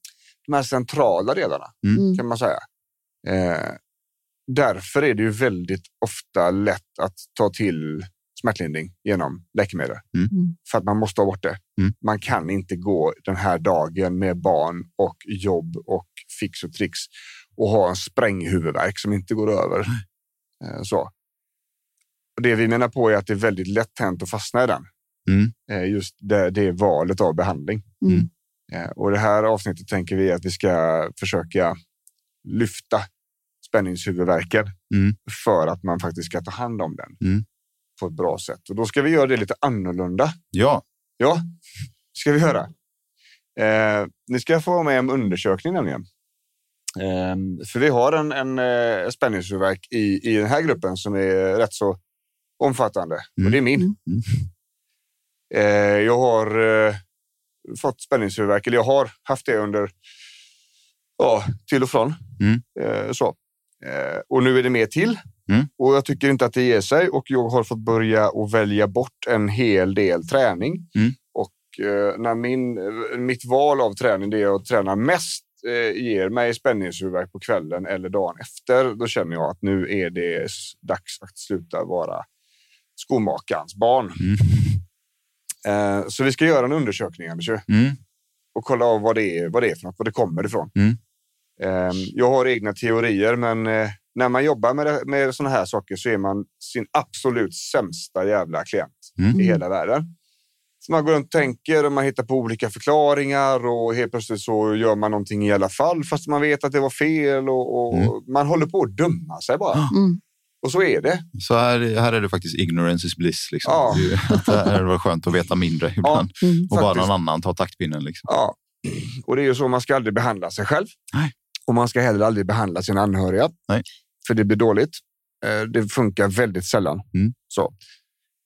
[SPEAKER 1] de här centrala delarna
[SPEAKER 2] Mm.
[SPEAKER 3] Mm.
[SPEAKER 1] kan man säga. Eh, därför är det ju väldigt ofta lätt att ta till smärtlindring genom läkemedel
[SPEAKER 2] Mm.
[SPEAKER 3] Mm.
[SPEAKER 1] för att man måste ha bort det.
[SPEAKER 2] Mm.
[SPEAKER 1] Man kan inte gå den här dagen med barn och jobb och fix och trix och ha en spränghuvudvärk som inte går över. Eh, så. Och det vi menar på är att det är väldigt lätt hänt att fastna i den.
[SPEAKER 2] Mm.
[SPEAKER 1] Eh, just det, det är valet av behandling.
[SPEAKER 3] Mm.
[SPEAKER 1] Eh, Och det här avsnittet tänker vi att vi ska försöka lyfta spänningshuvudvärken
[SPEAKER 2] Mm.
[SPEAKER 1] för att man faktiskt ska ta hand om den
[SPEAKER 2] Mm.
[SPEAKER 1] på ett bra sätt. Och då ska vi göra det lite annorlunda.
[SPEAKER 2] Ja,
[SPEAKER 1] Ja, ska vi göra. Eh, ni ska få vara med om undersökning nämligen. Ehm, Eh, för vi har en, en eh, spänningshuvudvärk i, i den här gruppen som är rätt så omfattande.
[SPEAKER 2] Mm.
[SPEAKER 1] Och det är min.
[SPEAKER 3] Mm.
[SPEAKER 1] Eh, jag har eh, fått spänningshuvudvärk, eller jag har haft det under ja, till och från.
[SPEAKER 2] Mm.
[SPEAKER 1] Eh, så. Eh, och nu är det mer till.
[SPEAKER 2] Mm.
[SPEAKER 1] Och jag tycker inte att det ger sig och jag har fått börja och välja bort en hel del träning.
[SPEAKER 2] Mm.
[SPEAKER 1] Och eh, när min, eh, mitt val av träning, det jag tränar mest, eh, ger mig spänningshuvudvärk på kvällen eller dagen efter, då känner jag att nu är det s- dags att sluta vara skomakarens barn.
[SPEAKER 2] Mm.
[SPEAKER 1] Eh, Så vi ska göra en undersökning Anders, ju,
[SPEAKER 2] Mm.
[SPEAKER 1] och kolla av vad det är, vad det är för något, vad det kommer ifrån.
[SPEAKER 2] Mm.
[SPEAKER 1] Eh, Jag har egna teorier, men eh, när man jobbar med, det- med sådana här saker så är man sin absolut sämsta jävla klient
[SPEAKER 2] Mm.
[SPEAKER 1] i hela världen. Så man går runt och tänker och man hittar på olika förklaringar och helt plötsligt så gör man någonting i alla fall fast man vet att det var fel och, och man håller på att döma sig bara.
[SPEAKER 3] Mm.
[SPEAKER 1] Och så är det.
[SPEAKER 2] Så här, här är det faktiskt ignorance is bliss. Liksom.
[SPEAKER 1] Ja.
[SPEAKER 2] Det är ju- att Det här var skönt att veta mindre ibland.
[SPEAKER 3] Mm.
[SPEAKER 2] och bara
[SPEAKER 1] faktiskt.
[SPEAKER 2] någon annan tar taktpinnen. Liksom.
[SPEAKER 1] Ja, och det är ju så man ska aldrig behandla sig själv.
[SPEAKER 2] Nej.
[SPEAKER 1] Och man ska heller aldrig behandla sina anhöriga.
[SPEAKER 2] Nej.
[SPEAKER 1] För det blir dåligt. Eh, Det funkar väldigt sällan.
[SPEAKER 2] Mm.
[SPEAKER 1] Så.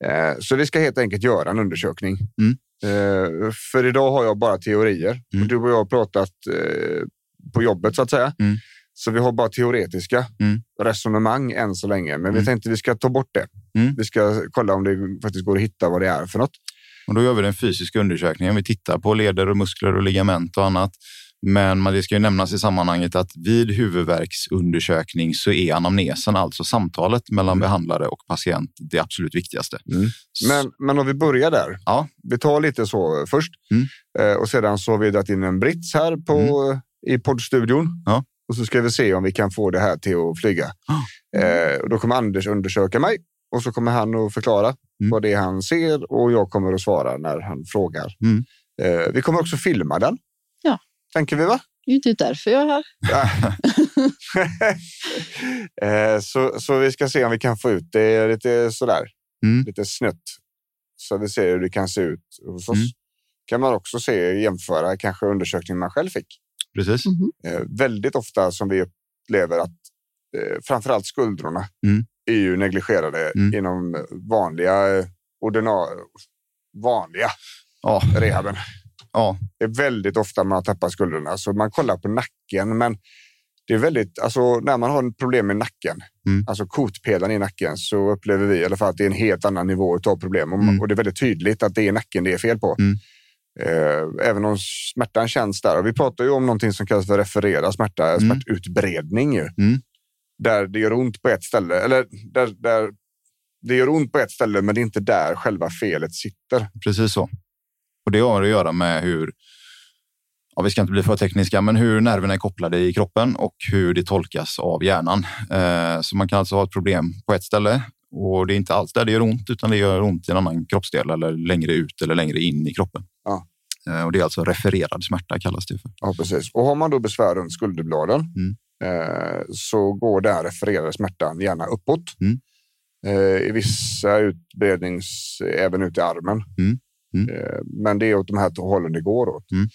[SPEAKER 1] Eh, så vi ska helt enkelt göra en undersökning.
[SPEAKER 2] Mm.
[SPEAKER 1] Eh, För idag har jag bara teorier.
[SPEAKER 2] Mm.
[SPEAKER 1] Och du och jag har pratat eh, på jobbet så att säga.
[SPEAKER 2] Mm.
[SPEAKER 1] Så vi har bara teoretiska
[SPEAKER 2] Mm.
[SPEAKER 1] resonemang än så länge. Men vi
[SPEAKER 2] Mm.
[SPEAKER 1] tänkte vi ska ta bort det.
[SPEAKER 2] Mm.
[SPEAKER 1] Vi ska kolla om det faktiskt går att hitta vad det är för något.
[SPEAKER 2] Och då gör vi den fysiska undersökningen. Vi tittar på leder och muskler och ligament och annat. Men man- det ska ju nämnas i sammanhanget att vid huvudvärksundersökning så är anamnesen, alltså samtalet mellan
[SPEAKER 1] Mm.
[SPEAKER 2] behandlare och patient, det absolut viktigaste.
[SPEAKER 1] Mm. Men, men om vi börjar där.
[SPEAKER 2] Ja.
[SPEAKER 1] Vi tar lite så först.
[SPEAKER 2] Mm.
[SPEAKER 1] Eh, och sedan så har vi dragit in en brits här på, i poddstudion.
[SPEAKER 2] Ja.
[SPEAKER 1] Och så ska vi se om vi kan få det här till att flyga.
[SPEAKER 3] Ah.
[SPEAKER 1] Eh, och då kommer Anders undersöka mig och så kommer han att förklara
[SPEAKER 2] Mm.
[SPEAKER 1] vad det är han ser och jag kommer att svara när han frågar.
[SPEAKER 2] Mm.
[SPEAKER 1] Eh, vi kommer också filma den.
[SPEAKER 3] Ja.
[SPEAKER 1] Tänker vi va?
[SPEAKER 3] Det är ju inte därför jag är här.
[SPEAKER 1] Eh, så, så vi ska se om vi kan få ut det lite sådär,
[SPEAKER 2] Mm.
[SPEAKER 1] lite snett. Så vi ser hur det kan se ut hos oss.
[SPEAKER 2] Mm.
[SPEAKER 1] kan man också se jämföra kanske undersökningen man själv fick.
[SPEAKER 2] Precis.
[SPEAKER 3] Mhm.
[SPEAKER 1] Eh, väldigt ofta som vi upplever att eh, framförallt skuldrorna
[SPEAKER 2] Mm.
[SPEAKER 1] är ju negligerade
[SPEAKER 2] Mm.
[SPEAKER 1] inom vanliga eh, ordina- vanliga
[SPEAKER 2] Ja,
[SPEAKER 1] rehaben.
[SPEAKER 2] ja.
[SPEAKER 1] Det är väldigt ofta man tappar skuldrorna, så man kollar på nacken. Men det är väldigt, alltså när man har problem med nacken,
[SPEAKER 2] Mm.
[SPEAKER 1] alltså kotpelaren i nacken, så upplever vi i alla fall att det är en helt annan nivå av problem. Och,
[SPEAKER 2] Mm.
[SPEAKER 1] och det är väldigt tydligt att det är nacken det är fel på.
[SPEAKER 2] Mm.
[SPEAKER 1] Eh, även om smärtan känns där. Och vi pratar ju om någonting som kallas för referera smärta,
[SPEAKER 2] Mm.
[SPEAKER 1] smärtutbredning. Ju.
[SPEAKER 2] Mm.
[SPEAKER 1] Där det gör ont på ett ställe, eller där, där det gör ont på ett ställe, men det är inte där själva felet sitter.
[SPEAKER 2] precis så. Och det har att göra med hur, ja, vi ska inte bli för tekniska, men hur nerverna är kopplade i kroppen och hur det tolkas av hjärnan. Eh, så man kan alltså ha ett problem på ett ställe och det är inte alls där det gör ont, utan det gör ont i en annan kroppsdel eller längre ut eller längre in i kroppen.
[SPEAKER 1] Ja.
[SPEAKER 2] Eh, och det är alltså refererad smärta kallas det för.
[SPEAKER 1] Ja, precis. Och har man då besvär runt skulderbladen
[SPEAKER 2] Mm.
[SPEAKER 1] eh, så går den refererade smärtan gärna uppåt.
[SPEAKER 2] Mm.
[SPEAKER 1] Eh, I vissa utbrednings, även ut i armen.
[SPEAKER 2] Mm. Mm.
[SPEAKER 1] Eh, men det är åt de här två hållen det går åt.
[SPEAKER 2] Mm.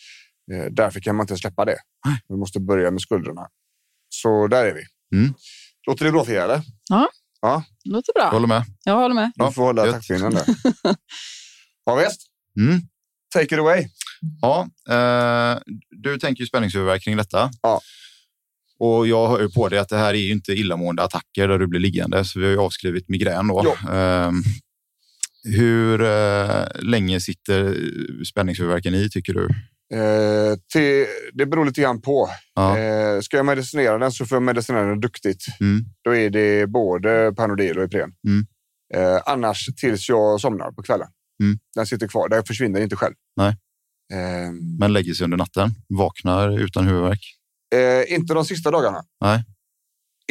[SPEAKER 1] Eh, därför kan man inte släppa det.
[SPEAKER 2] Nej.
[SPEAKER 1] Vi måste börja med skulderna. Så där är vi.
[SPEAKER 2] Mm.
[SPEAKER 1] Låter det bra för er? eller?
[SPEAKER 3] Det låter
[SPEAKER 2] Jag
[SPEAKER 3] bra.
[SPEAKER 2] håller med.
[SPEAKER 3] Jag håller med.
[SPEAKER 1] Du
[SPEAKER 2] Ja,
[SPEAKER 1] får hålla
[SPEAKER 2] gött.
[SPEAKER 1] taktpinnen där. ja, visst.
[SPEAKER 2] Mm.
[SPEAKER 1] Take it away.
[SPEAKER 2] Ja, eh, du tänker ju spänningshuvudvärk kring detta.
[SPEAKER 1] Ja.
[SPEAKER 2] Och jag hör ju på dig att det här är ju inte illamående attacker där du blir liggande, så vi har ju avskrivit migrän då. Ehm, hur eh, länge sitter spänningshuvudvärken i tycker du?
[SPEAKER 1] Eh, till, det beror lite grann på.
[SPEAKER 2] Ja.
[SPEAKER 1] Eh, ska jag medicinera den så får jag medicinera den duktigt.
[SPEAKER 2] Mm.
[SPEAKER 1] Då är det både Panodil och Ipren.
[SPEAKER 2] Mm.
[SPEAKER 1] Eh, annars tills jag somnar på kvällen.
[SPEAKER 2] Mm.
[SPEAKER 1] Den sitter kvar. Den försvinner inte själv.
[SPEAKER 2] Nej.
[SPEAKER 1] Ehm,
[SPEAKER 2] Men lägger sig under natten, vaknar utan huvudvärk.
[SPEAKER 1] eh, inte de sista dagarna.
[SPEAKER 2] Nej.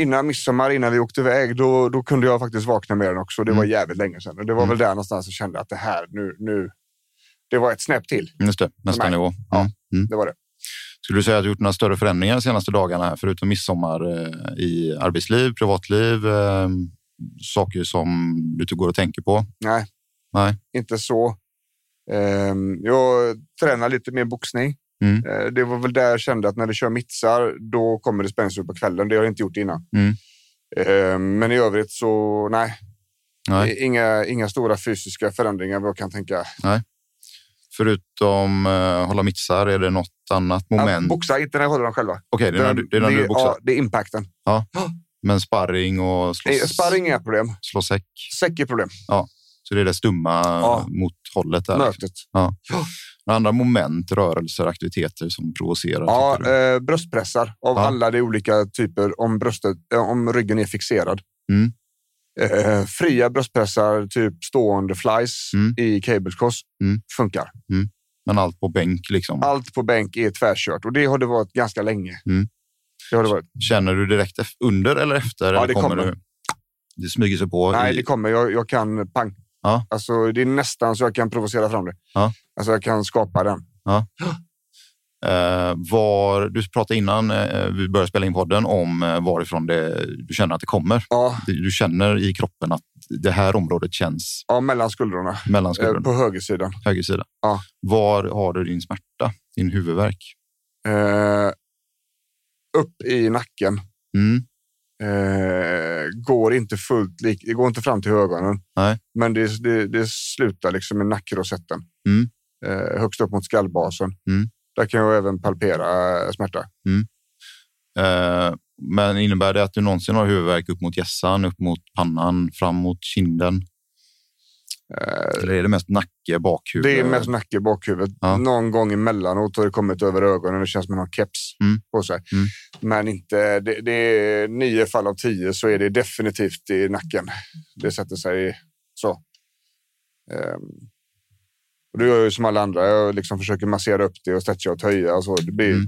[SPEAKER 1] Innan midsommar, innan vi åkte iväg, då, då kunde jag faktiskt vakna med den också. Det var
[SPEAKER 2] Mm.
[SPEAKER 1] jävligt länge sedan. Och det var
[SPEAKER 2] Mm.
[SPEAKER 1] väl där någonstans jag kände att det här, nu, nu... Det var ett snäpp till.
[SPEAKER 2] Just det, nästa
[SPEAKER 1] Nej.
[SPEAKER 2] nivå.
[SPEAKER 1] Ja.
[SPEAKER 2] Mm. Mm.
[SPEAKER 1] Det var det.
[SPEAKER 2] Skulle du säga att du gjort några större förändringar de senaste dagarna här, förutom midsommar eh, i arbetsliv, privatliv, eh, saker som du inte går och tänker på?
[SPEAKER 1] Inte så. Ehm, jag tränar lite mer boxning.
[SPEAKER 2] Mm.
[SPEAKER 1] Eh, Det var väl där jag kände att när du kör mittsar, då kommer det spänst upp på kvällen. Det har jag inte gjort innan.
[SPEAKER 2] Mm.
[SPEAKER 1] Eh, Men i övrigt så nej.
[SPEAKER 2] Nej.
[SPEAKER 1] Inga, inga stora fysiska förändringar vad jag kan tänka.
[SPEAKER 2] Förutom eh, hålla mittsar, är det något annat
[SPEAKER 1] Att
[SPEAKER 2] moment? Okej,
[SPEAKER 1] boxa, inte när jag håller dem själva.
[SPEAKER 2] det är när du, det är när du boxar.
[SPEAKER 1] ja, det är impacten.
[SPEAKER 2] Men sparring och slå,
[SPEAKER 1] Eh, Sparring är ett problem.
[SPEAKER 2] slå säck.
[SPEAKER 1] Säck är ett problem.
[SPEAKER 2] Så det är det stumma
[SPEAKER 1] Ja.
[SPEAKER 2] mot hållet. Där. liksom.
[SPEAKER 1] Mötet.
[SPEAKER 2] Andra moment, rörelser, aktiviteter som provocerar.
[SPEAKER 1] Ja,
[SPEAKER 2] tycker du?
[SPEAKER 1] eh, bröstpressar av
[SPEAKER 2] Ja.
[SPEAKER 1] alla de olika typer om, bröstet, eh, om ryggen är fixerad.
[SPEAKER 2] Mm.
[SPEAKER 1] Eh, fria bröstpressar, typ stående flies
[SPEAKER 2] Mm.
[SPEAKER 1] i cable cross,
[SPEAKER 2] Mm.
[SPEAKER 1] funkar.
[SPEAKER 2] Men allt på bänk. Liksom.
[SPEAKER 1] Allt på bänk är tvärkört och det har det varit ganska länge.
[SPEAKER 2] Mm.
[SPEAKER 1] Det har det varit.
[SPEAKER 2] Känner du direkt ef- under eller efter?
[SPEAKER 1] Ja,
[SPEAKER 2] eller
[SPEAKER 1] det kommer.
[SPEAKER 2] Du, det smyger sig på.
[SPEAKER 1] Nej,
[SPEAKER 2] i,
[SPEAKER 1] det kommer. Jag, jag kan pang.
[SPEAKER 2] Ja.
[SPEAKER 1] Alltså, det är nästan så jag kan provocera fram det.
[SPEAKER 2] Ja.
[SPEAKER 1] Alltså, jag kan skapa den.
[SPEAKER 2] eh, var, du pratade innan eh, vi började spela in podden om eh, varifrån det, du känner att det kommer.
[SPEAKER 1] Ja,
[SPEAKER 2] Du känner i kroppen att det här området känns
[SPEAKER 1] ja mellan skuldrorna.
[SPEAKER 2] mellan
[SPEAKER 1] Eh,
[SPEAKER 2] skuldrorna,
[SPEAKER 1] på högersidan.
[SPEAKER 2] höger sida.
[SPEAKER 1] Ja.
[SPEAKER 2] Var har du din smärta, din huvudvärk?
[SPEAKER 1] Eh, upp i nacken.
[SPEAKER 2] Mm.
[SPEAKER 1] Eh, går inte fullt lik, det går inte fram till ögonen.
[SPEAKER 2] Nej.
[SPEAKER 1] Men det, det, det slutar liksom i nackrosetten.
[SPEAKER 2] Mm.
[SPEAKER 1] Eh, högst upp mot skallbasen.
[SPEAKER 2] Mm.
[SPEAKER 1] Där kan jag även palpera eh, smärta.
[SPEAKER 2] Eh, men innebär det att du någonsin har huvudvärk upp mot hjässan, upp mot pannan, fram mot kinden?
[SPEAKER 1] Eh,
[SPEAKER 2] Eller är det mest nacke, bakhuvud?
[SPEAKER 1] det är mest nacke i bakhuvudet.
[SPEAKER 2] Ja.
[SPEAKER 1] Någon gång emellanåt har det kommit över ögonen. Det känns som man har keps
[SPEAKER 2] Mm.
[SPEAKER 1] på sig.
[SPEAKER 2] Mm.
[SPEAKER 1] Men inte, det, det är nio fall av tio så är det definitivt i nacken. Det sätter sig i- så. Ehm. Och det gör jag ju som alla andra. Jag liksom försöker massera upp det och stretcha och töja och så. Det blir
[SPEAKER 2] Mm.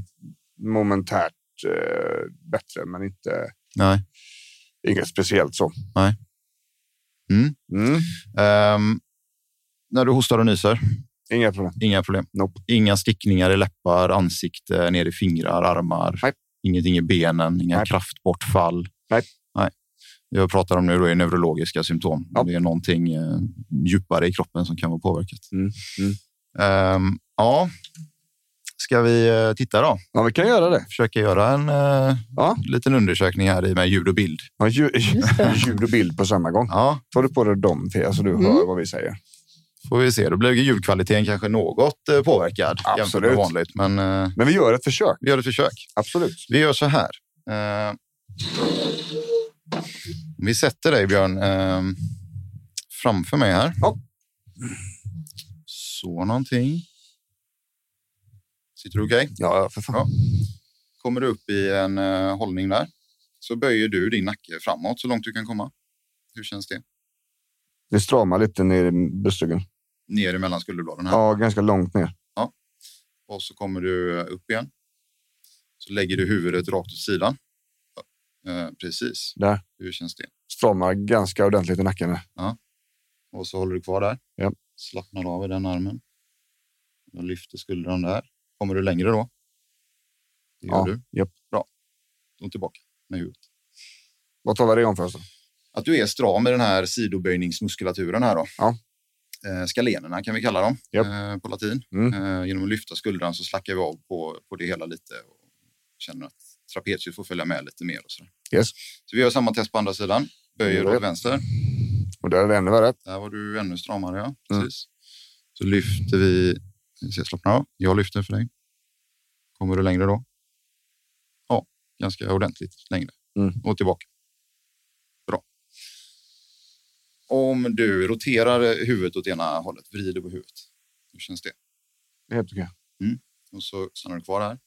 [SPEAKER 1] momentärt eh, bättre, men inte
[SPEAKER 2] Nej.
[SPEAKER 1] inget speciellt så.
[SPEAKER 2] Nej. Mm.
[SPEAKER 1] Mm.
[SPEAKER 2] Ehm, när du hostar och nyser,
[SPEAKER 1] Inga problem.
[SPEAKER 2] inga problem.
[SPEAKER 1] Nope.
[SPEAKER 2] Inga stickningar i läppar, ansikte, ner i fingrar, armar.
[SPEAKER 1] Nej.
[SPEAKER 2] Ingenting i benen, inga
[SPEAKER 1] Nej.
[SPEAKER 2] kraftbortfall.
[SPEAKER 1] Nej.
[SPEAKER 2] Nej. Det jag pratar om nu då är neurologiska symptom.
[SPEAKER 1] Ja.
[SPEAKER 2] Det är någonting eh, djupare i kroppen som kan vara påverkat.
[SPEAKER 1] Mm, mm.
[SPEAKER 2] Ehm, ja, ska vi eh, titta då?
[SPEAKER 1] Ja, vi kan göra det.
[SPEAKER 2] Försöka göra en eh,
[SPEAKER 1] Ja.
[SPEAKER 2] liten undersökning här i med ljud och bild.
[SPEAKER 1] Ja, ju,
[SPEAKER 3] Just det.
[SPEAKER 1] ljud och bild på samma gång.
[SPEAKER 2] Ja,
[SPEAKER 1] Tar du på dig dem, Fia, så Alltså, du
[SPEAKER 3] Mm.
[SPEAKER 1] hör vad vi säger?
[SPEAKER 2] får vi se. Då blir ju ljudkvaliteten kanske något eh, påverkad jämfört med
[SPEAKER 1] Absolut.
[SPEAKER 2] vanligt. Men eh,
[SPEAKER 1] Men vi gör ett försök.
[SPEAKER 2] vi gör ett försök.
[SPEAKER 1] Absolut.
[SPEAKER 2] Vi gör så här. Eh, vi sätter dig, Björn, eh, framför mig här.
[SPEAKER 1] Ja.
[SPEAKER 2] Så någonting. Sitter du okej?
[SPEAKER 1] Ja, för fan.
[SPEAKER 2] Ja. Kommer du upp i en eh, hållning där så böjer du din nacke framåt så långt du kan komma. Hur känns det?
[SPEAKER 1] Det stramar lite ner i bröstryggen.
[SPEAKER 2] Ner emellan skulderbladen här.
[SPEAKER 1] Ja, ganska långt ner.
[SPEAKER 2] Och så kommer du eh, upp igen. Så lägger du huvudet rakt åt sidan. Eh, precis.
[SPEAKER 1] Där.
[SPEAKER 2] Hur känns det?
[SPEAKER 1] Stramar ganska ordentligt i nacken. nu.
[SPEAKER 2] Och så håller du kvar där.
[SPEAKER 1] Ja.
[SPEAKER 2] Slappnar av i den armen. Och lyfter skuldran där. Kommer du längre då? Det gör
[SPEAKER 1] Ja,
[SPEAKER 2] du.
[SPEAKER 1] japp.
[SPEAKER 2] Bra. Och tillbaka med huvudet.
[SPEAKER 1] Vad talar det om för oss? då?
[SPEAKER 2] Att du är stram i den här sidoböjningsmuskulaturen här då.
[SPEAKER 1] Ja.
[SPEAKER 2] Eh, Skalenerna kan vi kalla dem
[SPEAKER 1] Japp.
[SPEAKER 2] eh, på latin.
[SPEAKER 1] Mm.
[SPEAKER 2] Eh, genom att lyfta skuldran så slackar vi av på, på det hela lite och känner att trapeziet får följa med lite mer. Och sådär.
[SPEAKER 1] Yes.
[SPEAKER 2] Så vi gör samma test på andra sidan. Böjer
[SPEAKER 1] Japp.
[SPEAKER 2] åt vänster.
[SPEAKER 1] Och där är det ännu värre.
[SPEAKER 2] Där var du ännu stramare, ja. Precis. Så lyfter vi... vi ser, Slappna av. Jag lyfter för dig. Kommer du längre då? Ja, ganska ordentligt längre.
[SPEAKER 1] Mm.
[SPEAKER 2] Och tillbaka. Bra. Om du roterar huvudet åt ena hållet, vrider på huvudet. Hur känns det?
[SPEAKER 1] Det är helt okej.
[SPEAKER 2] Och så stannar du kvar här.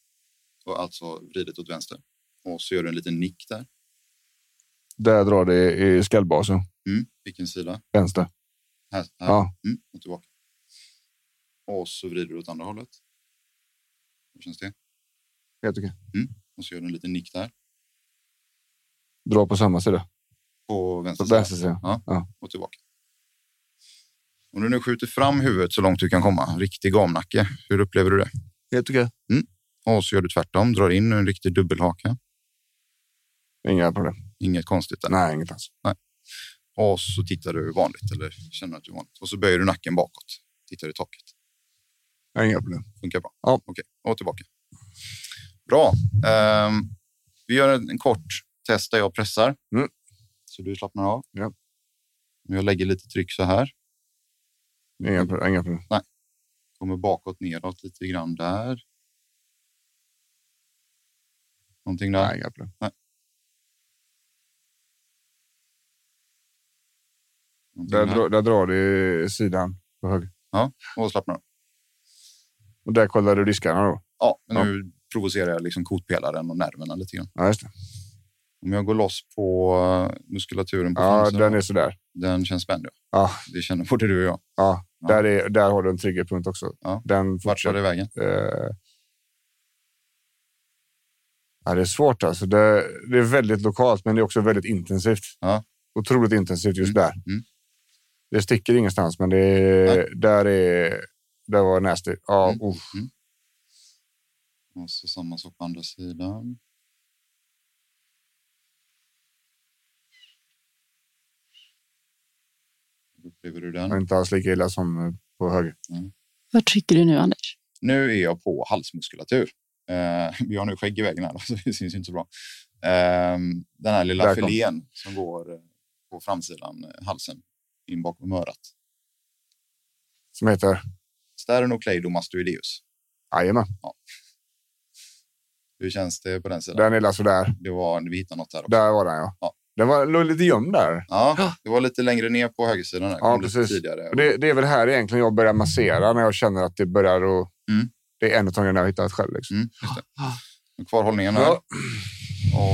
[SPEAKER 2] Och alltså vridet åt vänster. Och så gör du en liten nick där.
[SPEAKER 1] Där drar det i skallbasen.
[SPEAKER 2] Mm. Vilken sida?
[SPEAKER 1] Vänster.
[SPEAKER 2] Här. här.
[SPEAKER 1] Ja.
[SPEAKER 2] Mm, och tillbaka. Och så vrider du åt andra hållet. Hur känns det?
[SPEAKER 1] Helt okej.
[SPEAKER 2] Och så gör du en liten nick där
[SPEAKER 1] Dra på samma sida.
[SPEAKER 2] på
[SPEAKER 1] På
[SPEAKER 2] vänster sida
[SPEAKER 1] vänster sida.
[SPEAKER 2] och tillbaka. Om du nu skjuter fram huvudet så långt du kan komma, riktig gamnacke, hur upplever du det?
[SPEAKER 1] Helt okej.
[SPEAKER 2] Och så gör du tvärtom, drar in en riktig dubbelhaka.
[SPEAKER 1] Inga problem.
[SPEAKER 2] Inget konstigt där.
[SPEAKER 1] Nej, inget alls.
[SPEAKER 2] Och så tittar du vanligt eller känner att du är vanligt. Och så böjer du nacken bakåt, tittar i taket.
[SPEAKER 1] Inga problem.
[SPEAKER 2] Funkar bra?
[SPEAKER 1] Ja.
[SPEAKER 2] Okej, och tillbaka. Bra. Ehm, vi gör en, en kort test där jag pressar.
[SPEAKER 1] Mm.
[SPEAKER 2] Så du slappnar av.
[SPEAKER 1] Ja.
[SPEAKER 2] Jag lägger lite tryck så här.
[SPEAKER 1] Inga, pro- inga problem.
[SPEAKER 2] Kommer bakåt neråt lite grann där. Någonting där.
[SPEAKER 1] Nej, inga problem.
[SPEAKER 2] Någonting
[SPEAKER 1] Där, dra, där drar du i sidan på höger.
[SPEAKER 2] Och slappnar av.
[SPEAKER 1] Och där kollar du diskarna då?
[SPEAKER 2] Ja, men nu provocerar jag liksom kotpelaren och nerverna lite grann.
[SPEAKER 1] Ja, just det.
[SPEAKER 2] Om jag går loss på eh, muskulaturen på
[SPEAKER 1] Ja,
[SPEAKER 2] fansen,
[SPEAKER 1] den är sådär.
[SPEAKER 2] den känns spänd. Ja.
[SPEAKER 1] Ja,
[SPEAKER 2] Det känner både du och jag.
[SPEAKER 1] ja.
[SPEAKER 2] Ja.
[SPEAKER 1] Där, är, där har du en triggerpunkt också.
[SPEAKER 2] Ja.
[SPEAKER 1] Den
[SPEAKER 2] Vart var
[SPEAKER 1] fortsätter.
[SPEAKER 2] det vägen?
[SPEAKER 1] Eh, Ja, det är svårt alltså. Det, det är väldigt lokalt, men det är också väldigt intensivt.
[SPEAKER 2] Ja.
[SPEAKER 1] Otroligt intensivt just där.
[SPEAKER 2] mm.
[SPEAKER 1] Det sticker ingenstans, men det är, där är där var nasty. Ja, oh,
[SPEAKER 2] Mm.
[SPEAKER 1] uff.
[SPEAKER 2] Mm. Och så samma sak på andra sidan. Hur Upplever du
[SPEAKER 1] det var
[SPEAKER 2] den?
[SPEAKER 1] inte alls lika illa som på höger.
[SPEAKER 3] Vad trycker du nu, Anders?
[SPEAKER 2] Nu är jag på halsmuskulatur. Eh, vi har nu skägg i vägen här, så det syns inte så bra. Eh, den här lilla
[SPEAKER 1] Där kom.
[SPEAKER 2] filén som går eh, på framsidan eh, halsen in bakom örat.
[SPEAKER 1] Som heter?
[SPEAKER 2] Sternocleidomastoideus.
[SPEAKER 1] Jajamän.
[SPEAKER 2] Hur känns det på den sidan?
[SPEAKER 1] Den är alltså där.
[SPEAKER 2] Det var, vi hittade något där också.
[SPEAKER 1] Där var den ja.
[SPEAKER 2] Ja.
[SPEAKER 1] Den var, låg lite gömd där.
[SPEAKER 2] Ja, det var lite längre ner på högersidan. Där.
[SPEAKER 1] Ja,
[SPEAKER 2] Kom lite
[SPEAKER 1] precis.
[SPEAKER 2] Tidigare.
[SPEAKER 1] Och Det, det är väl här egentligen jag börjar massera när jag känner att det börjar och
[SPEAKER 2] Mm.
[SPEAKER 1] Det är en av de grejerna jag har hittat själv. Liksom.
[SPEAKER 2] Mm, just det. Kvarhållningen här.
[SPEAKER 1] Ja.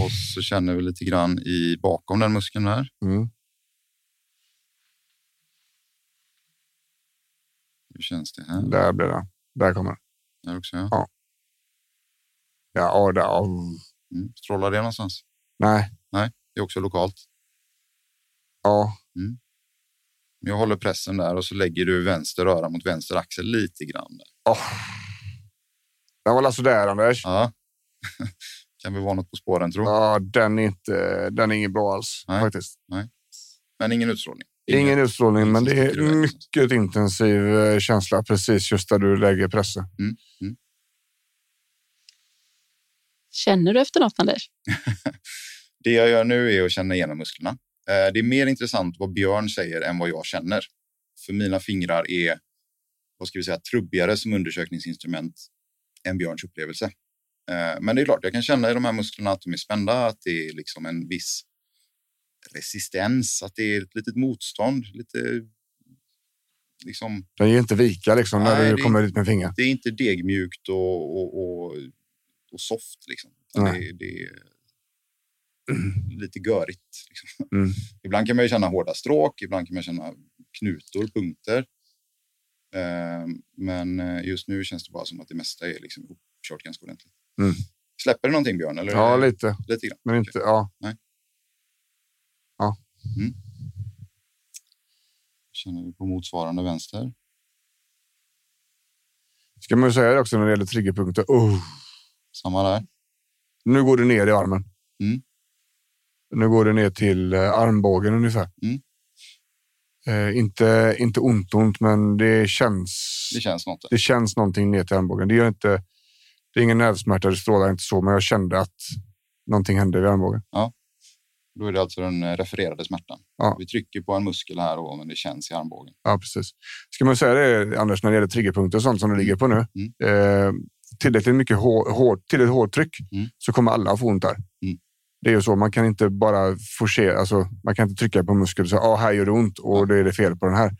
[SPEAKER 2] Och så känner vi lite grann i bakom den muskeln här.
[SPEAKER 1] Mm.
[SPEAKER 2] Hur känns det här?
[SPEAKER 1] Där blev den. Där kommer den.
[SPEAKER 2] Där också, ja.
[SPEAKER 1] Ja, ja, där. ja.
[SPEAKER 2] Mm. Strålar det någonstans?
[SPEAKER 1] Nej,
[SPEAKER 2] Det är också lokalt.
[SPEAKER 1] ja.
[SPEAKER 2] Jag håller pressen där och så lägger du vänster öra mot vänster axel lite grann. Där.
[SPEAKER 1] Oh. Den var alltså där Anders.
[SPEAKER 2] Ja. kan vi vara något på spåren tror
[SPEAKER 1] Ja, den är inte. Den är ingen bra alls
[SPEAKER 2] Nej.
[SPEAKER 1] faktiskt.
[SPEAKER 2] Men ingen utstrålning.
[SPEAKER 1] Ingen utstrålning, men det
[SPEAKER 2] som sticker
[SPEAKER 1] är
[SPEAKER 2] iväg.
[SPEAKER 1] mycket intensiv eh, känsla precis just där du lägger pressen.
[SPEAKER 3] Känner du efter något, Anders?
[SPEAKER 2] Det jag gör nu är att känna igenom musklerna. Eh, Det är mer intressant vad Björn säger än vad jag känner. För mina fingrar är vad ska vi säga, trubbigare som undersökningsinstrument än Björns upplevelse. Eh, Men det är klart, jag kan känna i de här musklerna att de är spända, att det är liksom en viss resistens, att det är ett litet motstånd. Lite, liksom,
[SPEAKER 1] Den ger inte vika liksom,
[SPEAKER 2] Nej,
[SPEAKER 1] när
[SPEAKER 2] det
[SPEAKER 1] du
[SPEAKER 2] är
[SPEAKER 1] kommer dit med fingrar.
[SPEAKER 2] det är inte degmjukt och, och, och, och soft. Liksom. Utan Det, det är lite görigt. Liksom.
[SPEAKER 1] Mm.
[SPEAKER 2] Ibland kan man ju känna hårda stråk, ibland kan man känna knutor, punkter. Ehm, Men eh, just nu känns det bara som att det mesta är liksom uppkört ganska ordentligt.
[SPEAKER 1] Mm.
[SPEAKER 2] Släpper det någonting, Björn? Eller?
[SPEAKER 1] Ja, lite.
[SPEAKER 2] lite grann.
[SPEAKER 1] Men inte, ja.
[SPEAKER 2] Känner vi på motsvarande vänster.
[SPEAKER 1] Ska man ju säga det också när det gäller triggerpunkter. Oh,
[SPEAKER 2] Samma där.
[SPEAKER 1] nu går du ner i armen.
[SPEAKER 2] Mm.
[SPEAKER 1] Nu går du ner till eh, armbågen ungefär.
[SPEAKER 2] Mm.
[SPEAKER 1] Eh, inte, inte ont, ont, men det känns.
[SPEAKER 2] Det känns något. där.
[SPEAKER 1] det känns någonting ner till armbågen. Det, gör inte, det är ingen nervsmärta, det strålar inte så, men jag kände att någonting hände vid armbågen.
[SPEAKER 2] Då är det alltså den eh, refererade smärtan.
[SPEAKER 1] Ja.
[SPEAKER 2] Vi trycker på en muskel här och men det känns i armbågen.
[SPEAKER 1] Ja, precis. Ska man säga det, Anders, när det gäller triggerpunkter och sånt som du ligger på nu.
[SPEAKER 2] Mm.
[SPEAKER 1] Eh, tillräckligt mycket hår, hår, tillräckligt hårt tryck
[SPEAKER 2] Mm.
[SPEAKER 1] så kommer alla att få ont där.
[SPEAKER 2] Mm.
[SPEAKER 1] Det är ju så, man kan inte bara forcera, alltså, man kan inte trycka på muskeln och säga ah, här gör det ont och då är det fel på den
[SPEAKER 2] Mm.
[SPEAKER 1] här.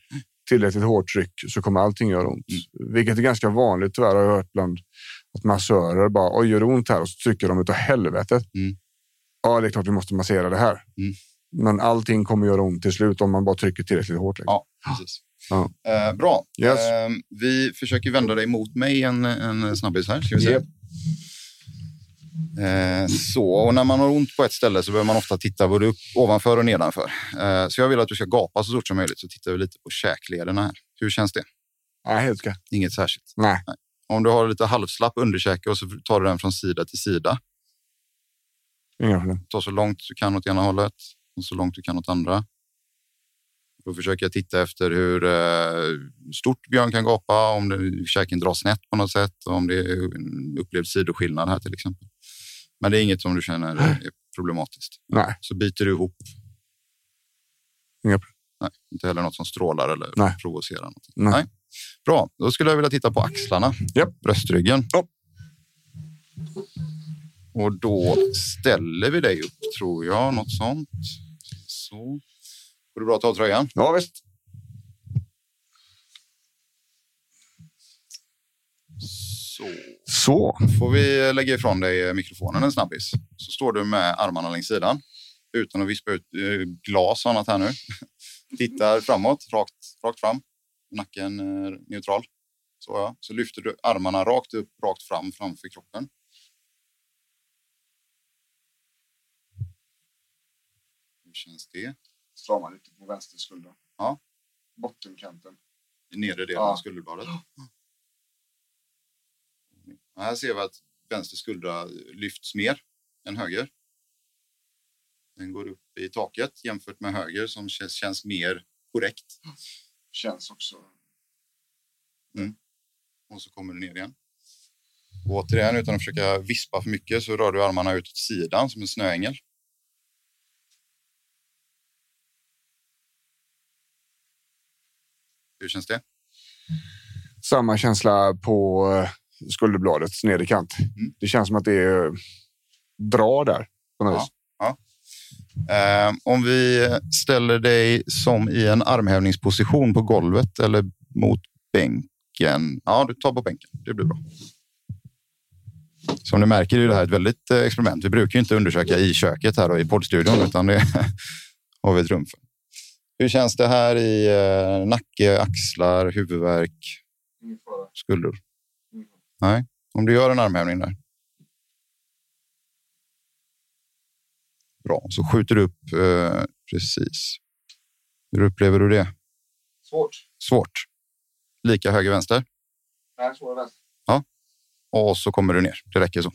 [SPEAKER 1] Tillräckligt hårt tryck så kommer allting göra ont. Vilket är ganska vanligt tyvärr har jag hört bland att massörer bara oj, gör det ont här och så trycker de utav helvetet.
[SPEAKER 2] Mm.
[SPEAKER 1] Ja, det är klart vi måste massera det här.
[SPEAKER 2] Mm.
[SPEAKER 1] Men allting kommer göra ont till slut om man bara trycker tillräckligt hårt. liksom.
[SPEAKER 2] Ja. Precis.
[SPEAKER 1] Ja.
[SPEAKER 2] Eh, bra.
[SPEAKER 1] Yes.
[SPEAKER 2] Eh, vi försöker vända dig mot mig en, en snabbis här. Ska vi se.
[SPEAKER 1] Yep.
[SPEAKER 2] Eh, så, och när man har ont på ett ställe så behöver man ofta titta både upp, ovanför och nedanför. Eh, så jag vill att du ska gapa så stort som möjligt så tittar vi lite på käklederna här. Hur känns det?
[SPEAKER 1] Nej, helt okej.
[SPEAKER 2] Inget särskilt.
[SPEAKER 1] Nej.
[SPEAKER 2] Om du har lite halvslapp underkäke och så tar du den från sida till sida.
[SPEAKER 1] Inga problem.
[SPEAKER 2] Ta så långt du kan åt ena hållet och så långt du kan åt andra. Då försöker jag titta efter hur eh, stort Björn kan gapa, om det, käken dras snett på något sätt och om det är en upplevd sidoskillnad här till exempel. Men det är inget som du känner är problematiskt.
[SPEAKER 1] Nej.
[SPEAKER 2] Så biter du ihop.
[SPEAKER 1] Inga
[SPEAKER 2] Inte heller något som strålar eller
[SPEAKER 1] Nej.
[SPEAKER 2] provocerar. Någonting.
[SPEAKER 1] Nej.
[SPEAKER 2] Bra, då skulle jag vilja titta på axlarna,
[SPEAKER 1] Japp.
[SPEAKER 2] bröstryggen.
[SPEAKER 1] Ja.
[SPEAKER 2] Och då ställer vi dig upp, tror jag. Något sånt. Så. Går det bra att ta av tröjan?
[SPEAKER 1] Ja, visst.
[SPEAKER 2] Så.
[SPEAKER 1] Så.
[SPEAKER 2] får vi lägga ifrån dig mikrofonen en snabbis. Så står du med armarna längs sidan utan att vispa ut eh, glas och annat här nu. Tittar framåt, rakt, rakt fram. Nacken är neutral. Så, ja. så lyfter du armarna rakt upp, rakt fram framför kroppen. Hur känns det?
[SPEAKER 1] Stramar lite på vänster skulder.
[SPEAKER 2] Ja.
[SPEAKER 1] Bottenkanten.
[SPEAKER 2] I nedre delen
[SPEAKER 1] Ja.
[SPEAKER 2] av skulderbladet. Ja, Här ser vi att vänster skuldra lyfts mer än höger. Den går upp i taket jämfört med höger som känns, känns mer korrekt.
[SPEAKER 1] Känns också.
[SPEAKER 2] Och så kommer du ner igen. Och återigen, utan att försöka vispa för mycket så rör du armarna ut åt sidan som en snöängel. Hur känns det?
[SPEAKER 1] Samma känsla på eh, skulderbladets nedre kant.
[SPEAKER 2] Mm.
[SPEAKER 1] Det känns som att det är eh, drar där. På något
[SPEAKER 2] Ja.
[SPEAKER 1] vis.
[SPEAKER 2] Eh, om vi ställer dig som i en armhävningsposition på golvet eller mot bänken. Ja, du tar på bänken. Det blir bra. Som ni märker är det här ett väldigt eh, experiment. Vi brukar ju inte undersöka i köket här och i poddstudion, utan det har vi ett rum för. Hur känns det här i eh, nacke, axlar, huvudvärk,
[SPEAKER 1] Ingen fara.
[SPEAKER 2] skuldror?
[SPEAKER 1] Mm.
[SPEAKER 2] Nej, om du gör en armhävning där. Bra, så skjuter du upp eh, precis. Hur upplever du det?
[SPEAKER 1] Svårt.
[SPEAKER 2] Svårt. Lika höger vänster
[SPEAKER 1] Nej, svårare vänster.
[SPEAKER 2] och så kommer du ner. Det räcker så.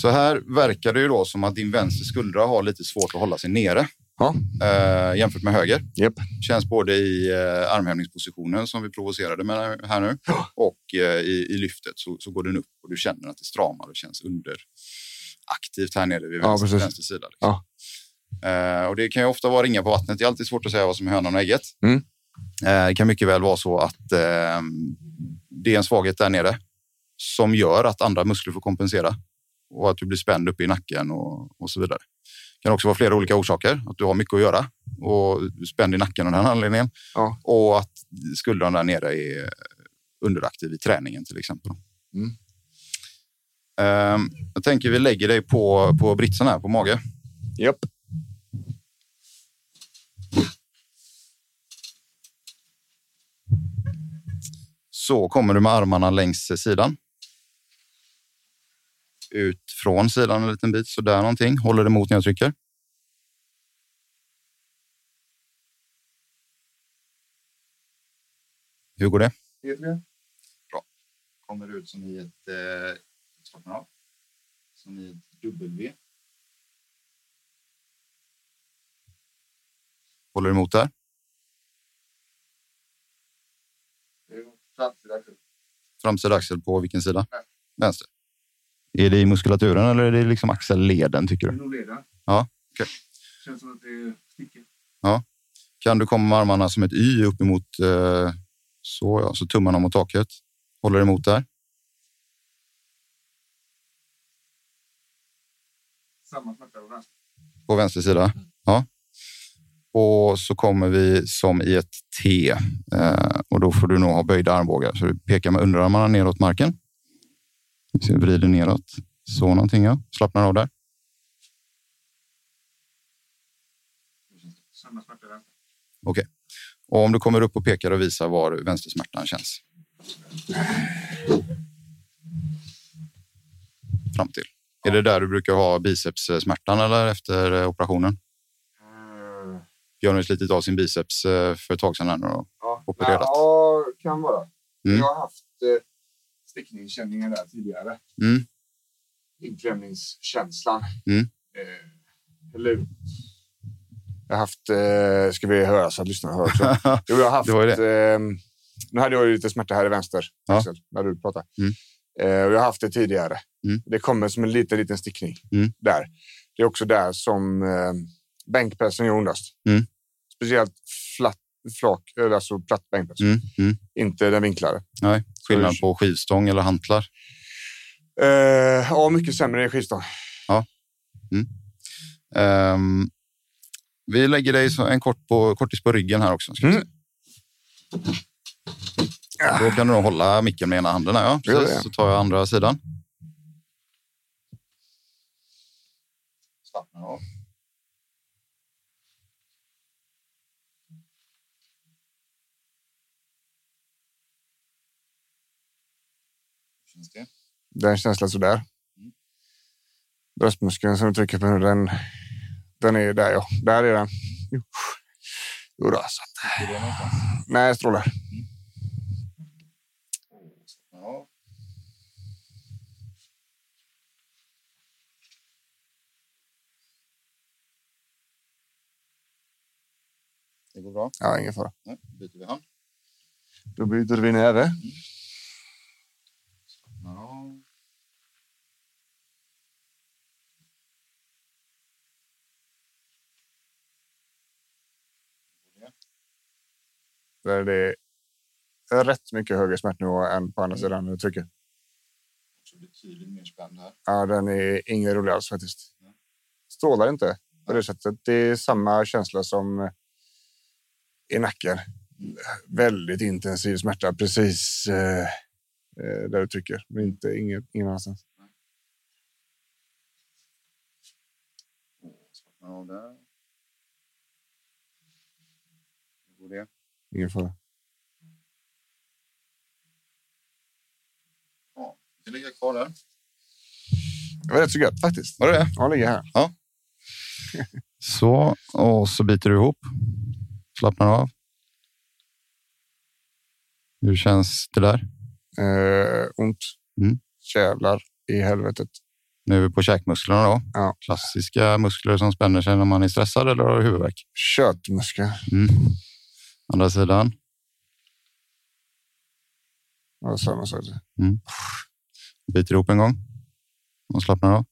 [SPEAKER 2] Så här verkar det ju då som att din vänster skuldra har lite svårt att hålla sig nere
[SPEAKER 1] Ja.
[SPEAKER 2] eh, jämfört med höger.
[SPEAKER 1] Japp.
[SPEAKER 2] Känns både i eh, armhävningspositionen som vi provocerade med här nu och eh, i, i lyftet så, så går den upp och du känner att det stramar och känns underaktivt här nere vid
[SPEAKER 1] Ja,
[SPEAKER 2] vänster,
[SPEAKER 1] precis.
[SPEAKER 2] vänster sida. Liksom.
[SPEAKER 1] Ja.
[SPEAKER 2] Eh, och det kan ju ofta vara ringa på vattnet. Det är alltid svårt att säga vad som är hönan och ägget.
[SPEAKER 1] Mm.
[SPEAKER 2] Eh, det kan mycket väl vara så att eh, det är en svaghet där nere som gör att andra muskler får kompensera och att du blir spänd uppe i nacken och, och så vidare. Det kan också vara flera olika orsaker. Att du har mycket att göra och du är spänd i nacken av den anledningen.
[SPEAKER 1] Ja.
[SPEAKER 2] Och att skuldran där nere är underaktiv i träningen till exempel.
[SPEAKER 1] Mm.
[SPEAKER 2] Ehm, jag tänker vi lägger dig på, på britsen här, på mage.
[SPEAKER 1] Japp.
[SPEAKER 2] Så kommer du med armarna längs sidan. Ut från sidan en liten bit, sådär någonting. Håller emot när jag trycker. Hur går det? Bra. Kommer ut som i ett... Eh, slappna av. som i ett W. Håller emot där. Framsida axel på vilken sida? Vänster. Är det i muskulaturen eller är det liksom axelleden tycker du? Ja, okej.
[SPEAKER 1] Känns som att det sticker.
[SPEAKER 2] Kan du komma med armarna som ett Y upp emot eh, så, ja, så tummarna mot taket. Håller emot där.
[SPEAKER 1] Samma smärta och vänster.
[SPEAKER 2] på vänster sida. Ja. Och så kommer vi som i ett T eh, och då får du nog ha böjda armbågar. Så du pekar med underarmarna neråt marken. Så jag vrider neråt. Så någonting ja. Slappnar av där.
[SPEAKER 1] Samma smärta och vänster.
[SPEAKER 2] Och om du kommer upp och pekar och visar var vänstersmärtan känns. Fram till. Är det där du brukar ha bicepssmärtan eller efter eh, operationen?
[SPEAKER 1] Eh,
[SPEAKER 2] Björn har ju slitit av sin biceps eh, för ett tag sedan här nu då.
[SPEAKER 1] Ja,
[SPEAKER 2] Opererat.
[SPEAKER 1] Ja, kan vara.
[SPEAKER 2] Mm.
[SPEAKER 1] Jag har haft eh, stickningskänningar där tidigare.
[SPEAKER 2] Mm.
[SPEAKER 1] Inklämningskänslan.
[SPEAKER 2] Mm.
[SPEAKER 1] Eh, eller hur? Jag har haft... Eh, ska vi höra så att lyssnarna hör också? Jo, jag har haft...
[SPEAKER 2] Det var ju
[SPEAKER 1] ehm, nu hade jag ju lite smärta här i vänster,
[SPEAKER 2] Ja.
[SPEAKER 1] axel, när du pratade.
[SPEAKER 2] Mm.
[SPEAKER 1] Eh, och jag har haft det tidigare.
[SPEAKER 2] Mm.
[SPEAKER 1] Det kommer som en liten, liten stickning
[SPEAKER 2] Mm.
[SPEAKER 1] där. Det är också där som eh, Bänkpressen gör ondast.
[SPEAKER 2] Mm.
[SPEAKER 1] Speciellt flatt, flak, eller alltså platt bänkpress.
[SPEAKER 2] Mm, mm.
[SPEAKER 1] Inte den vinklade.
[SPEAKER 2] Nej, skillnad på skivstång eller hantlar.
[SPEAKER 1] Eh, ja, mycket sämre än skivstång.
[SPEAKER 2] Ehm, vi lägger dig så- en kort på, kortis på ryggen här också. Ska vi
[SPEAKER 1] Mm. Ah,
[SPEAKER 2] se. Då kan du nog hålla micken med ena handen. Här, ja.
[SPEAKER 1] Gör
[SPEAKER 2] Precis,
[SPEAKER 1] det.
[SPEAKER 2] så tar jag andra sidan. Slappnar av. Känns det?
[SPEAKER 1] Den känslan sådär. Bröstmuskeln som du trycker på nu, den, den är där ja. Där är den. Jo då, så. att-
[SPEAKER 2] Är det någonstans?
[SPEAKER 1] Nej, strålar.
[SPEAKER 2] Ja. Det går bra.
[SPEAKER 1] Ja, ingen fara.
[SPEAKER 2] Nu byter vi hand.
[SPEAKER 1] Då byter vi näve.
[SPEAKER 2] Ja.
[SPEAKER 1] Där det är rätt mycket högre smärtnivå än på andra sidan nu trycker.
[SPEAKER 2] Också betydligt mer spänd här.
[SPEAKER 1] Ja, den är ingen rolig alls faktiskt.
[SPEAKER 2] Nej.
[SPEAKER 1] Strålar inte på det sättet. Det är samma känsla som i nacken. Väldigt intensiv smärta precis eh, eh, där du trycker, men inte ingen, ingen annanstans.
[SPEAKER 2] Slappnar av där. Hur går det?
[SPEAKER 1] Ingen fara.
[SPEAKER 2] Vi ligger kvar där.
[SPEAKER 1] Det var rätt så gött faktiskt.
[SPEAKER 2] Var det det?
[SPEAKER 1] Ja, Han ligger här.
[SPEAKER 2] Så, och så biter du ihop. Slappnar av. Hur känns det där?
[SPEAKER 1] Eh, ont.
[SPEAKER 2] Mm.
[SPEAKER 1] Jävlar i helvetet.
[SPEAKER 2] Nu är vi på käkmusklerna då.
[SPEAKER 1] Ja.
[SPEAKER 2] Klassiska muskler som spänner sig när man är stressad eller har huvudvärk.
[SPEAKER 1] Köttmuskel.
[SPEAKER 2] Mm. Andra sidan.
[SPEAKER 1] Ja, samma sak.
[SPEAKER 2] Biter ihop en gång och slappnar av.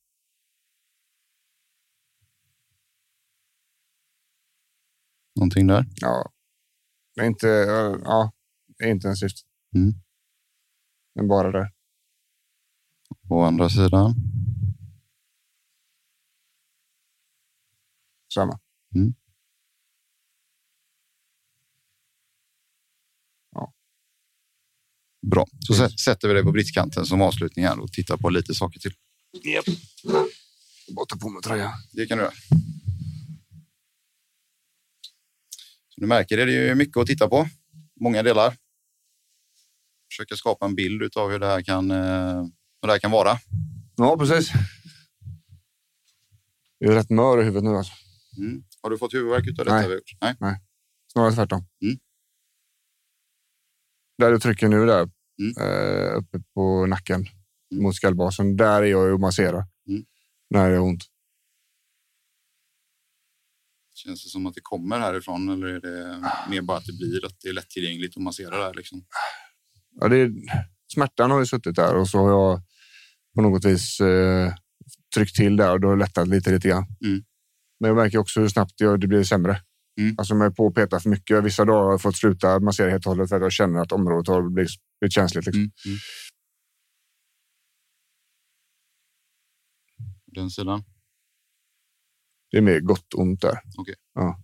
[SPEAKER 2] Någonting där.
[SPEAKER 1] Ja. Men inte, eh, ja, intensivt.
[SPEAKER 2] Mm.
[SPEAKER 1] Men bara där.
[SPEAKER 2] På andra sidan.
[SPEAKER 1] Samma.
[SPEAKER 2] Mm.
[SPEAKER 1] Ja.
[SPEAKER 2] Bra, så sä- sätter vi dig på britskanten som avslutning här och tittar på lite saker till.
[SPEAKER 1] Yep. Bara ta på mig tröjan.
[SPEAKER 2] Det kan du göra. Som du märker är det ju mycket att titta på. Många delar. Försöka skapa en bild av hur det här kan, eh, hur det här kan vara.
[SPEAKER 1] Ja, precis. Jag är rätt mör i huvudet nu. Alltså.
[SPEAKER 2] Har du fått huvudvärk utav detta?
[SPEAKER 1] Nej.
[SPEAKER 2] vi har gjort? Nej.
[SPEAKER 1] Snarare tvärtom.
[SPEAKER 2] Mm.
[SPEAKER 1] Där du trycker nu, där
[SPEAKER 2] Mm.
[SPEAKER 1] eh, uppe på nacken mot skallbasen, där är jag ju och masserar.
[SPEAKER 2] Mm.
[SPEAKER 1] När det är ont.
[SPEAKER 2] Känns det som att det kommer härifrån eller är det mer bara att det blir att det är lättillgängligt och massera där? Liksom?
[SPEAKER 1] Ja, det är, smärtan har ju suttit där och så har jag på något vis eh, tryckt till där och då har det lättat lite, lite grann.
[SPEAKER 2] Mm.
[SPEAKER 1] Men jag märker också hur snabbt jag, det blir sämre.
[SPEAKER 2] Mm.
[SPEAKER 1] Alltså, om jag är på och petar för mycket. Vissa dagar har jag fått sluta massera helt och hållet för att jag känner att området har blivit, blivit känsligt. Liksom.
[SPEAKER 2] Mm. Den sidan.
[SPEAKER 1] Det är mer gott ont där.
[SPEAKER 2] Okej.
[SPEAKER 1] Ja.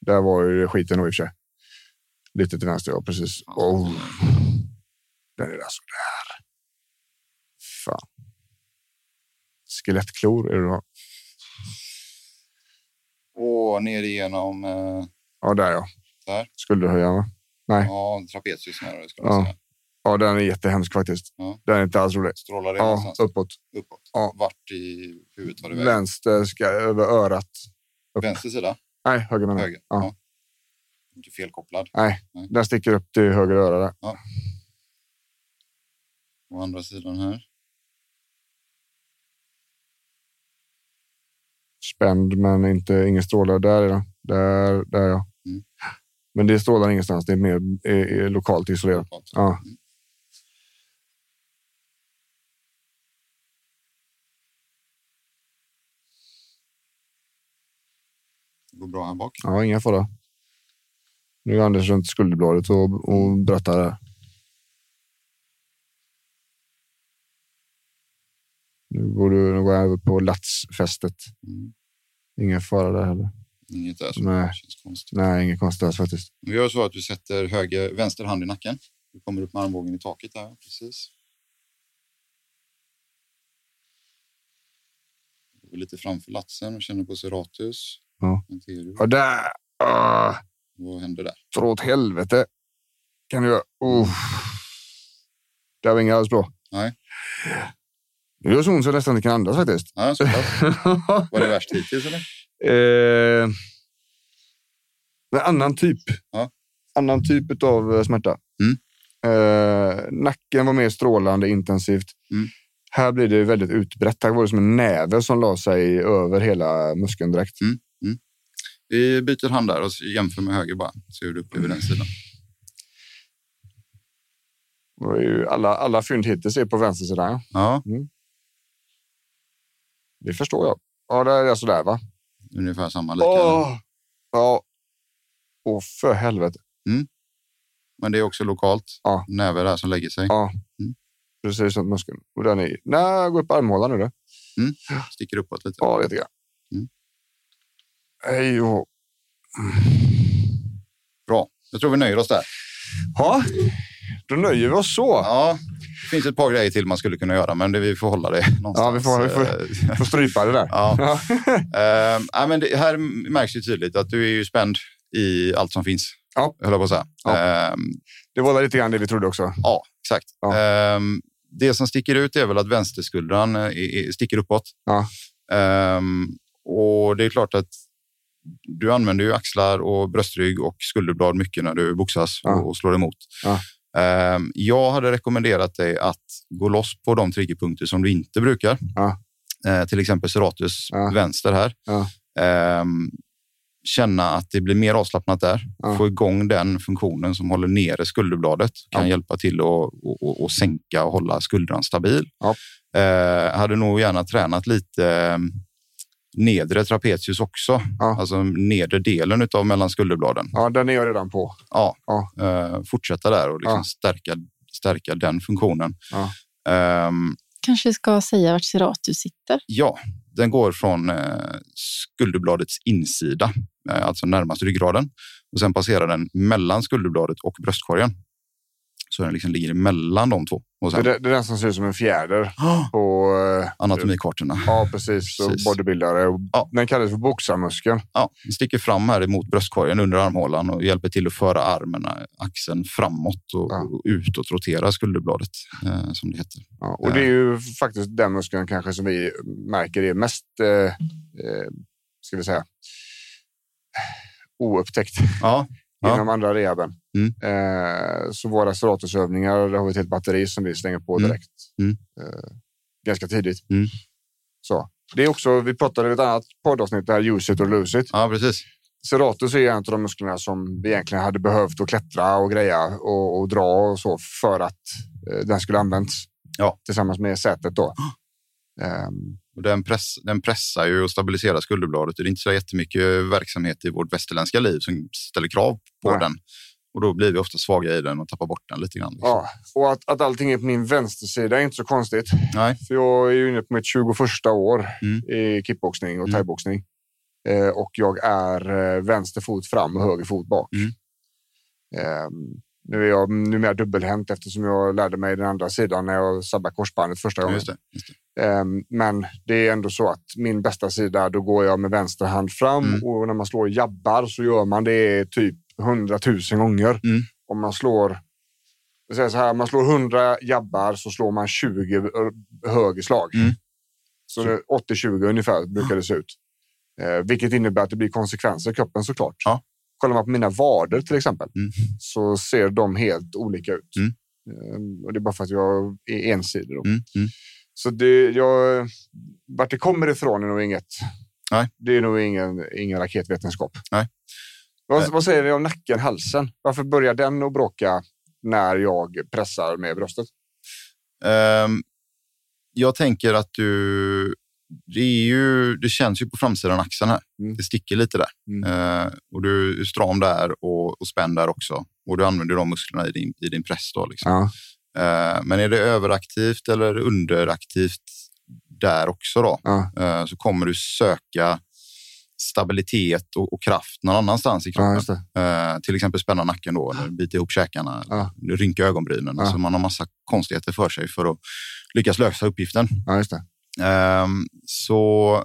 [SPEAKER 1] Där var ju skiten då i och för sig. Lite till vänster, ja precis. Oh, den är alltså där sådär. Fan. Skelettklor är det då.
[SPEAKER 2] Och ner igenom eh,
[SPEAKER 1] Ja, där ja.
[SPEAKER 2] Där.
[SPEAKER 1] Skulle du höja va? Nej.
[SPEAKER 2] ja, trapeziusnerver. skulle
[SPEAKER 1] Ja.
[SPEAKER 2] jag säga.
[SPEAKER 1] Ja, den är jättehemsk faktiskt.
[SPEAKER 2] Ja.
[SPEAKER 1] Den är inte alls rolig.
[SPEAKER 2] Strålar det
[SPEAKER 1] Ja,
[SPEAKER 2] någonstans?
[SPEAKER 1] uppåt.
[SPEAKER 2] Uppåt.
[SPEAKER 1] Ja.
[SPEAKER 2] Vart i huvudet var det vägen?
[SPEAKER 1] Vänster ska över örat. upp.
[SPEAKER 2] Vänster sida?
[SPEAKER 1] Nej, höger menar jag.
[SPEAKER 2] Höger?
[SPEAKER 1] Ja.
[SPEAKER 2] Ja. Inte felkopplad.
[SPEAKER 1] Den sticker upp till höger öra där.
[SPEAKER 2] Å andra sidan här.
[SPEAKER 1] Spänd, men inte, ingen strålar. Där är den. Där, där ja.
[SPEAKER 2] Mm.
[SPEAKER 1] Men det strålar ingenstans. Det är mer är, är lokalt isolerat.
[SPEAKER 2] Uppåt.
[SPEAKER 1] Ja.
[SPEAKER 2] Mm. Det går bra här bak.
[SPEAKER 1] Ja, ingen fara. Nu är Anders runt skulderbladet och, och berättar. här. Nu går du nu går jag över på latsfästet.
[SPEAKER 2] Mm.
[SPEAKER 1] Ingen fara där heller.
[SPEAKER 2] Inget där som
[SPEAKER 1] Nej.
[SPEAKER 2] känns konstigt.
[SPEAKER 1] Nej, inget konstigt alls faktiskt.
[SPEAKER 2] Vi gör så att du sätter höger, vänster hand i nacken. Du kommer upp med armbågen i taket där, precis. Du går lite framför latsen och känner på serratus.
[SPEAKER 1] Ja.
[SPEAKER 2] Anterior.
[SPEAKER 1] Och där! Ah,
[SPEAKER 2] Vad händer där?
[SPEAKER 1] dra åt helvete. Kan du göra. Oh. Det här var inget alls bra.
[SPEAKER 2] Nej.
[SPEAKER 1] Det gör så ont så jag nästan inte kan andas faktiskt.
[SPEAKER 2] Ja, så pass. Var det värst hittills eller?
[SPEAKER 1] Eh, en annan typ.
[SPEAKER 2] Ja.
[SPEAKER 1] Annan typ av smärta.
[SPEAKER 2] Mm.
[SPEAKER 1] Eh, nacken var mer strålande intensivt.
[SPEAKER 2] Mm.
[SPEAKER 1] Här blir det väldigt utbrett. Här var det som en näve som la sig över hela muskeln direkt.
[SPEAKER 2] Vi byter hand där och jämför med höger bara. Se hur du upplever den sidan.
[SPEAKER 1] Det var ju alla, alla fynd hittills är på vänster sida.
[SPEAKER 2] Ja,
[SPEAKER 1] Det förstår jag. Ja, det är sådär va?
[SPEAKER 2] ungefär samma. Lika.
[SPEAKER 1] Åh! Ja. Åh, för helvete.
[SPEAKER 2] Men det är också lokalt.
[SPEAKER 1] Ja.
[SPEAKER 2] Näve där som lägger sig.
[SPEAKER 1] Ja. Precis runt muskeln. Och den är... Nej, gå upp armhålan nu då.
[SPEAKER 2] Sticker uppåt lite.
[SPEAKER 1] Ja, lite grann.
[SPEAKER 2] Mm.
[SPEAKER 1] Hej och...
[SPEAKER 2] Bra. Jag tror vi nöjer oss där.
[SPEAKER 1] Ja, då nöjer vi oss så.
[SPEAKER 2] Ja, det finns ett par grejer till man skulle kunna göra, men det, vi får hålla det någonstans.
[SPEAKER 1] vi får- vi
[SPEAKER 2] Eh,
[SPEAKER 1] Får strypa det där.
[SPEAKER 2] ja.
[SPEAKER 1] Ja.
[SPEAKER 2] Eh, nej, men det, här märks ju tydligt att du är ju spänd i allt som finns.
[SPEAKER 1] Ja.
[SPEAKER 2] Höll jag på att säga.
[SPEAKER 1] Ja.
[SPEAKER 2] Eh,
[SPEAKER 1] Det var lite grann det vi trodde också.
[SPEAKER 2] ja exakt.
[SPEAKER 1] Ja.
[SPEAKER 2] Eh, det som sticker ut är väl att vänsterskuldran eh, är- är- sticker uppåt.
[SPEAKER 1] Ja.
[SPEAKER 2] Eh, och det är klart att du använder ju axlar och bröstrygg och skulderblad mycket när du boxas
[SPEAKER 1] Ja.
[SPEAKER 2] och, och slår emot.
[SPEAKER 1] Ja.
[SPEAKER 2] Eh, Jag hade rekommenderat dig att gå loss på de triggerpunkter som du inte brukar.
[SPEAKER 1] Ja.
[SPEAKER 2] Eh, Till exempel serratus
[SPEAKER 1] Ja.
[SPEAKER 2] vänster här.
[SPEAKER 1] Ja.
[SPEAKER 2] Ehm, Känna att det blir mer avslappnat där.
[SPEAKER 1] Ja.
[SPEAKER 2] Få igång den funktionen som håller nere skulderbladet. Kan
[SPEAKER 1] Ja.
[SPEAKER 2] hjälpa till att och, och, och sänka och hålla skuldran stabil.
[SPEAKER 1] Ja.
[SPEAKER 2] Eh, hade nog gärna tränat lite eh, nedre trapezius också.
[SPEAKER 1] Ja.
[SPEAKER 2] Alltså nedre delen av mellan skulderbladen.
[SPEAKER 1] Ja, den är jag redan på.
[SPEAKER 2] Ja,
[SPEAKER 1] Ja.
[SPEAKER 2] Eh, fortsätta där och liksom
[SPEAKER 1] Ja.
[SPEAKER 2] stärka, stärka den funktionen.
[SPEAKER 1] Ja.
[SPEAKER 2] Ehm,
[SPEAKER 3] Kanske ska säga vart Serratus sitter.
[SPEAKER 2] ja, den går från eh, skulderbladets insida, eh, alltså närmast ryggraden. Och sen passerar den mellan skulderbladet och bröstkorgen. Så den liksom ligger mellan de två. Och
[SPEAKER 1] Det,
[SPEAKER 2] sen,
[SPEAKER 1] det är den som ser ut som en fjäder.
[SPEAKER 2] Ah,
[SPEAKER 1] På, eh,
[SPEAKER 2] anatomikartorna.
[SPEAKER 1] ja, precis.
[SPEAKER 2] Precis.
[SPEAKER 1] Och bodybuildare. Och
[SPEAKER 2] Ja.
[SPEAKER 1] Den kallas för boxarmuskeln.
[SPEAKER 2] Ja, den sticker fram här emot bröstkorgen under armhålan och hjälper till att föra armen, axeln framåt och,
[SPEAKER 1] Ja.
[SPEAKER 2] och utåt rotera skulderbladet eh, som det heter.
[SPEAKER 1] Ja, och det är ju faktiskt den muskeln kanske som vi märker är mest, eh, eh, ska vi säga, oupptäckt
[SPEAKER 2] Ja, Ja.
[SPEAKER 1] inom andra rehaben.
[SPEAKER 2] Mm.
[SPEAKER 1] Eh, så våra serratusövningar, där har vi ett helt batteri som vi slänger på
[SPEAKER 2] Mm.
[SPEAKER 1] direkt.
[SPEAKER 2] Mm.
[SPEAKER 1] Eh, ganska tidigt.
[SPEAKER 2] Mm.
[SPEAKER 1] Så. Det är också, vi pratade i ett annat poddavsnitt, där use it och lose it.
[SPEAKER 2] Ja, precis.
[SPEAKER 1] Serratus är ju en av de musklerna som vi egentligen hade behövt att klättra och greja och, och dra och så för att eh, den skulle använts
[SPEAKER 2] Ja.
[SPEAKER 1] tillsammans med sätet då. Ehm,
[SPEAKER 2] Och den, press, den pressar ju och stabiliserar skulderbladet. Det är inte så jättemycket verksamhet i vårt västerländska liv som ställer krav på
[SPEAKER 1] Nej.
[SPEAKER 2] den. Och då blir vi ofta svaga i den och tappar bort den lite grann. liksom.
[SPEAKER 1] ja. Och att, att allting är på min vänstersida är inte så konstigt.
[SPEAKER 2] Nej.
[SPEAKER 1] För jag är ju inne på mitt 21 år
[SPEAKER 2] Mm.
[SPEAKER 1] i kickboxning och
[SPEAKER 2] Mm.
[SPEAKER 1] thaiboxning. Eh, och jag är eh, vänster fot fram och höger fot bak.
[SPEAKER 2] Mm.
[SPEAKER 1] Ehm, nu är jag numera dubbelhänt eftersom jag lärde mig den andra sidan när jag sabbade korsbandet första
[SPEAKER 2] Ja,
[SPEAKER 1] gången.
[SPEAKER 2] just det. Just det.
[SPEAKER 1] Ehm, Men det är ändå så att min bästa sida, då går jag med vänster hand fram
[SPEAKER 2] Mm.
[SPEAKER 1] och när man slår jabbar så gör man det typ hundratusen gånger.
[SPEAKER 2] Mm.
[SPEAKER 1] Om man slår, jag säger så här, om man slår hundra jabbar så slår man 20 ö- högerslag.
[SPEAKER 2] Mm.
[SPEAKER 1] Så det är 80-20 ungefär brukar det se ut. Eh, vilket innebär att det blir konsekvenser i kroppen såklart.
[SPEAKER 2] Ja.
[SPEAKER 1] Kollar man på mina vader till exempel
[SPEAKER 2] Mm.
[SPEAKER 1] så ser de helt olika ut.
[SPEAKER 2] Mm.
[SPEAKER 1] Ehm, Och det är bara för att jag är ensidig. Då.
[SPEAKER 2] Mm, mm.
[SPEAKER 1] Så det, jag, vart det kommer ifrån är nog inget.
[SPEAKER 2] Nej.
[SPEAKER 1] Det är nog ingen, ingen raketvetenskap.
[SPEAKER 2] Nej. Nej.
[SPEAKER 1] Vad, vad säger vi om nacken, halsen? Varför börjar den att bråka när jag pressar med bröstet?
[SPEAKER 2] Ehm, jag tänker att du det, är ju, det känns ju på framsidan av axeln här.
[SPEAKER 1] Mm.
[SPEAKER 2] Det sticker lite där.
[SPEAKER 1] Mm.
[SPEAKER 2] Eh, och du är stram där och, och spänd där också. Och du använder de musklerna i din, i din press. Då, liksom.
[SPEAKER 1] Ja.
[SPEAKER 2] Eh, men är det överaktivt eller underaktivt där också då,
[SPEAKER 1] Ja.
[SPEAKER 2] eh, så kommer du söka stabilitet och, och kraft någon annanstans i
[SPEAKER 1] Ja,
[SPEAKER 2] kroppen.
[SPEAKER 1] just det.
[SPEAKER 2] Eh, till exempel spänna nacken då, eller bita ihop käkarna,
[SPEAKER 1] Ja.
[SPEAKER 2] rynka ögonbrynen.
[SPEAKER 1] Ja.
[SPEAKER 2] Alltså man har massa konstigheter för sig för att lyckas lösa uppgiften.
[SPEAKER 1] Ja, just det.
[SPEAKER 2] Ehm, så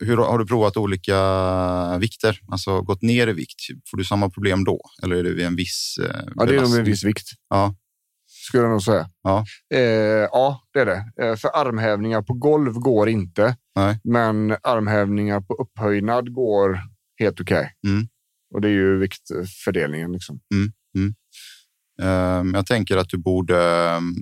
[SPEAKER 2] hur har du provat olika vikter? Alltså gått ner i vikt? Får du samma problem då? Eller är det vid en viss eh,
[SPEAKER 1] Ja, det är nog
[SPEAKER 2] belastning?
[SPEAKER 1] en viss vikt.
[SPEAKER 2] Ja.
[SPEAKER 1] Skulle jag nog säga.
[SPEAKER 2] Ja.
[SPEAKER 1] eh, ja det är det. Eh, för armhävningar på golv går inte.
[SPEAKER 2] Nej.
[SPEAKER 1] Men armhävningar på upphöjnad går helt okej.
[SPEAKER 2] Mm.
[SPEAKER 1] Och det är ju viktfördelningen. Liksom.
[SPEAKER 2] Ehm, Jag tänker att du borde ehm,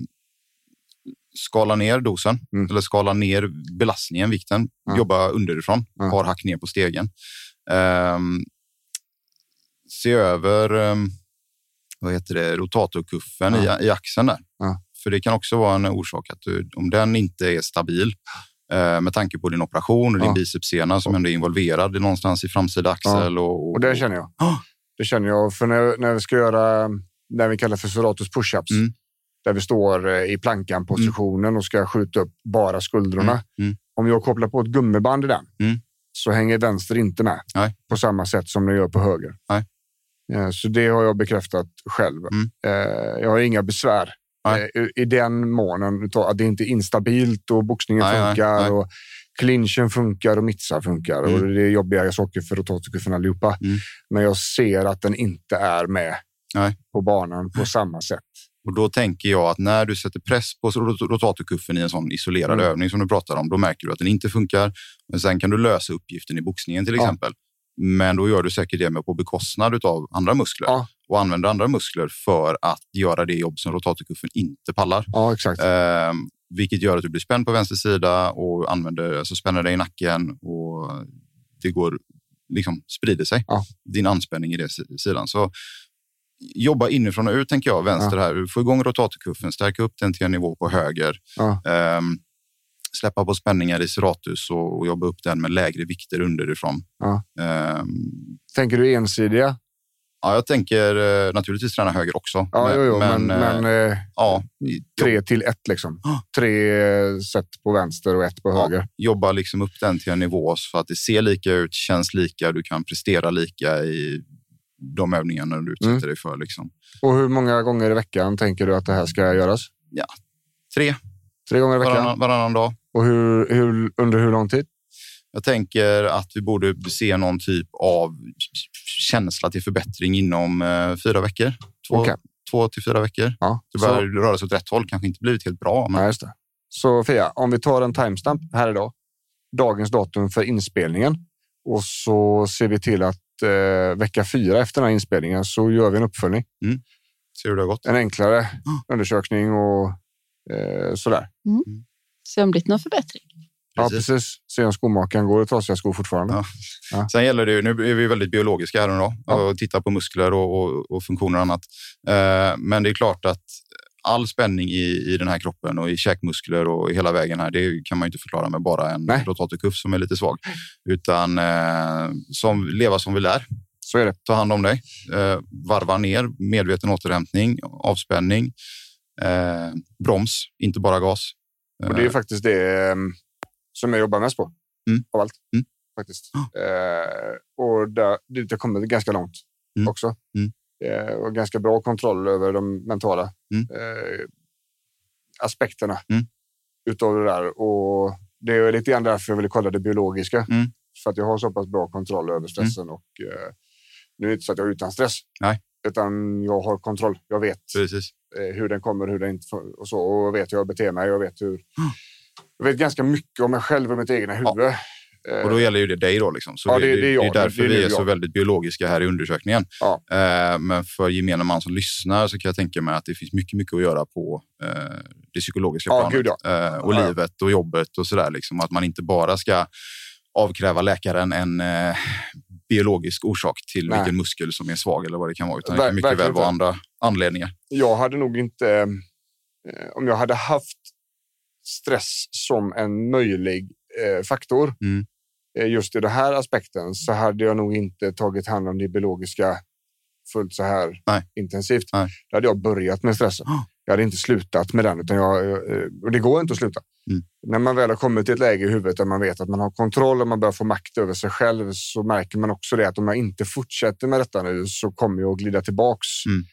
[SPEAKER 2] skala ner dosen
[SPEAKER 1] Mm.
[SPEAKER 2] eller skala ner belastningen, vikten.
[SPEAKER 1] Ja.
[SPEAKER 2] Jobba underifrån,
[SPEAKER 1] Ja.
[SPEAKER 2] par hack ner på stegen. Ehm, Se över ehm, vad heter det, rotatorkuffen i, i axeln där.
[SPEAKER 1] Ja.
[SPEAKER 2] För det kan också vara en orsak att du, om den inte är stabil eh, med tanke på din operation och din
[SPEAKER 1] Ja.
[SPEAKER 2] bicepssena som ändå är involverad i någonstans i framsida axel. Och,
[SPEAKER 1] Och det känner jag.
[SPEAKER 2] Ja.
[SPEAKER 1] Det känner jag. För när, när vi ska göra det vi kallar för serratus push-ups,
[SPEAKER 2] Mm.
[SPEAKER 1] där vi står eh, i plankan-positionen och ska skjuta upp bara skuldrorna.
[SPEAKER 2] Mm, mm.
[SPEAKER 1] Om jag kopplar på ett gummiband i den
[SPEAKER 2] Mm.
[SPEAKER 1] så hänger vänster inte med
[SPEAKER 2] Nej.
[SPEAKER 1] på samma sätt som den gör på höger.
[SPEAKER 2] Nej.
[SPEAKER 1] Eh, Så det har jag bekräftat själv.
[SPEAKER 2] Mm.
[SPEAKER 1] Eh, Jag har inga besvär
[SPEAKER 2] Nej.
[SPEAKER 1] eh, i- i den månen. utav Att det inte är instabilt och boxningen
[SPEAKER 2] Nej, nej,
[SPEAKER 1] funkar.
[SPEAKER 2] nej.
[SPEAKER 1] Och clinchen funkar och mittsar funkar.
[SPEAKER 2] Mm.
[SPEAKER 1] Och det är jobbiga saker för rotatorkuffen allihopa.
[SPEAKER 2] Mm.
[SPEAKER 1] Men jag ser att den inte är med
[SPEAKER 2] Nej.
[SPEAKER 1] på banan på samma sätt.
[SPEAKER 2] Och då tänker jag att när du sätter press på rot- rotatorkuffen i en sån isolerad
[SPEAKER 1] Mm.
[SPEAKER 2] övning som du pratar om, då märker du att den inte funkar. Men sen kan du lösa uppgiften i boxningen till
[SPEAKER 1] Ja.
[SPEAKER 2] exempel. Men då gör du säkert det med på bekostnad av andra muskler
[SPEAKER 1] Ja.
[SPEAKER 2] och använder andra muskler för att göra det jobb som rotatorkuffen inte pallar.
[SPEAKER 1] Ja, exakt.
[SPEAKER 2] Ehm, vilket gör att du blir spänd på vänster sida och använder, alltså spänner dig i nacken och det går, liksom sprider sig.
[SPEAKER 1] Ja.
[SPEAKER 2] Din anspänning i den si- sidan. Så jobba inifrån och ut tänker jag, vänster här. Få igång rotatorkuffen, stärka upp den till en nivå på höger.
[SPEAKER 1] Ja.
[SPEAKER 2] Ehm, släppa på spänningar i serratus och, och jobba upp den med lägre vikter underifrån.
[SPEAKER 1] Ja.
[SPEAKER 2] Ehm,
[SPEAKER 1] Tänker du ensidiga?
[SPEAKER 2] ja, jag tänker eh, naturligtvis träna höger också.
[SPEAKER 1] Ja, jo, jo, men,
[SPEAKER 2] eh,
[SPEAKER 1] men, eh,
[SPEAKER 2] ja,
[SPEAKER 1] tre till ett liksom.
[SPEAKER 2] Ja.
[SPEAKER 1] Tre eh, set på vänster och ett på
[SPEAKER 2] Ja.
[SPEAKER 1] höger.
[SPEAKER 2] jobba liksom upp den till en nivå så att det ser lika ut, känns lika, du kan prestera lika i de övningarna du utsätter
[SPEAKER 1] Mm.
[SPEAKER 2] dig för. Liksom.
[SPEAKER 1] Och hur många gånger i veckan tänker du att det här ska göras?
[SPEAKER 2] Tre,
[SPEAKER 1] Tre gånger i veckan.
[SPEAKER 2] varannan, varannan dag.
[SPEAKER 1] Och hur, hur, under hur lång tid?
[SPEAKER 2] Jag tänker att vi borde se någon typ av känsla till förbättring inom eh, fyra veckor. Två,
[SPEAKER 1] Okej.
[SPEAKER 2] två till fyra veckor.
[SPEAKER 1] Ja.
[SPEAKER 2] Det
[SPEAKER 1] Så,
[SPEAKER 2] börjar röra sig åt rätt håll, kanske inte blivit helt bra. Men
[SPEAKER 1] ja, just det. så Fia, om vi tar en timestamp här idag. Dagens datum för inspelningen. Och så ser vi till att eh, vecka fyra efter den här inspelningen så gör vi en uppföljning.
[SPEAKER 2] ser hur det har gått.
[SPEAKER 1] En enklare
[SPEAKER 2] Ja.
[SPEAKER 1] undersökning och eh, sådär.
[SPEAKER 3] Se om det blir någon förbättring.
[SPEAKER 1] Ja,
[SPEAKER 2] Precis.
[SPEAKER 1] precis. Se om skomakaren går i trasiga skor fortfarande.
[SPEAKER 2] Ja. Sen gäller det ju, nu är vi väldigt biologiska här idag
[SPEAKER 1] Ja.
[SPEAKER 2] och tittar på muskler och, och, och funktioner och annat. Eh, men det är klart att all spänning i, i den här kroppen och i käkmuskler och i hela vägen här, det kan man ju inte förklara med bara en
[SPEAKER 1] Nej.
[SPEAKER 2] rotatorkuff som är lite svag. Utan eh, som, leva som vi lär,
[SPEAKER 1] Så är det.
[SPEAKER 2] ta hand om dig, eh, varva ner, medveten återhämtning, avspänning, eh, broms, inte bara gas.
[SPEAKER 1] Och det är faktiskt det eh, som jag jobbar mest på.
[SPEAKER 2] Mm.
[SPEAKER 1] Av allt.
[SPEAKER 2] Mm.
[SPEAKER 1] Faktiskt. Eh, och där, dit har jag kommit ganska långt
[SPEAKER 2] Mm.
[SPEAKER 1] också.
[SPEAKER 2] Mm.
[SPEAKER 1] Eh, och ganska bra kontroll över de mentala
[SPEAKER 2] Mm.
[SPEAKER 1] eh, aspekterna
[SPEAKER 2] Mm.
[SPEAKER 1] utav det där. Och det är lite grann därför jag ville kolla det biologiska.
[SPEAKER 2] Mm.
[SPEAKER 1] För att jag har så pass bra kontroll över stressen. Och, eh, nu är det inte så att jag är utan stress.
[SPEAKER 2] Nej.
[SPEAKER 1] Utan jag har kontroll. Jag vet
[SPEAKER 2] Precis.
[SPEAKER 1] eh, hur den kommer, hur den inte får- och så. Och jag vet hur jag beter mig. Jag vet hur.
[SPEAKER 2] Mm.
[SPEAKER 1] Jag vet ganska mycket om mig själv och mitt egna huvud. Eh,
[SPEAKER 2] Och då gäller ju det dig då. Liksom. Så
[SPEAKER 1] Ja,
[SPEAKER 2] det,
[SPEAKER 1] det-
[SPEAKER 2] det,
[SPEAKER 1] det är jag.
[SPEAKER 2] är därför
[SPEAKER 1] Det är
[SPEAKER 2] vi
[SPEAKER 1] nu
[SPEAKER 2] är så
[SPEAKER 1] jag.
[SPEAKER 2] väldigt biologiska här i undersökningen.
[SPEAKER 1] Ja.
[SPEAKER 2] Eh, men för gemene man som lyssnar så kan jag tänka mig att det finns mycket, mycket att göra på eh, det psykologiska
[SPEAKER 1] Ja,
[SPEAKER 2] planet.
[SPEAKER 1] gud,
[SPEAKER 2] eh, och
[SPEAKER 1] Ja, ja.
[SPEAKER 2] livet och jobbet och sådär. Liksom. Att man inte bara ska avkräva läkaren en eh, biologisk orsak till
[SPEAKER 1] Nej.
[SPEAKER 2] vilken muskel som är svag eller vad det kan vara. Utan
[SPEAKER 1] Ver-
[SPEAKER 2] det kan mycket väl
[SPEAKER 1] verkligen
[SPEAKER 2] vara
[SPEAKER 1] inte.
[SPEAKER 2] andra anledningar.
[SPEAKER 1] jag hade nog inte... eh, Om jag hade haft stress som en möjlig eh, faktor.
[SPEAKER 2] Mm.
[SPEAKER 1] Eh, just i den här aspekten så hade jag nog inte tagit hand om det biologiska fullt så här
[SPEAKER 2] Nej.
[SPEAKER 1] intensivt.
[SPEAKER 2] Nej.
[SPEAKER 1] Då hade jag börjat med stressen.
[SPEAKER 2] Ah.
[SPEAKER 1] Jag hade inte slutat med den, utan jag, eh, och det går inte att sluta.
[SPEAKER 2] Mm.
[SPEAKER 1] När man väl har kommit till ett läge i huvudet där man vet att man har kontroll och man börjar få makt över sig själv så märker man också det att om jag inte fortsätter med detta nu så kommer jag att glida tillbaks
[SPEAKER 2] Mm.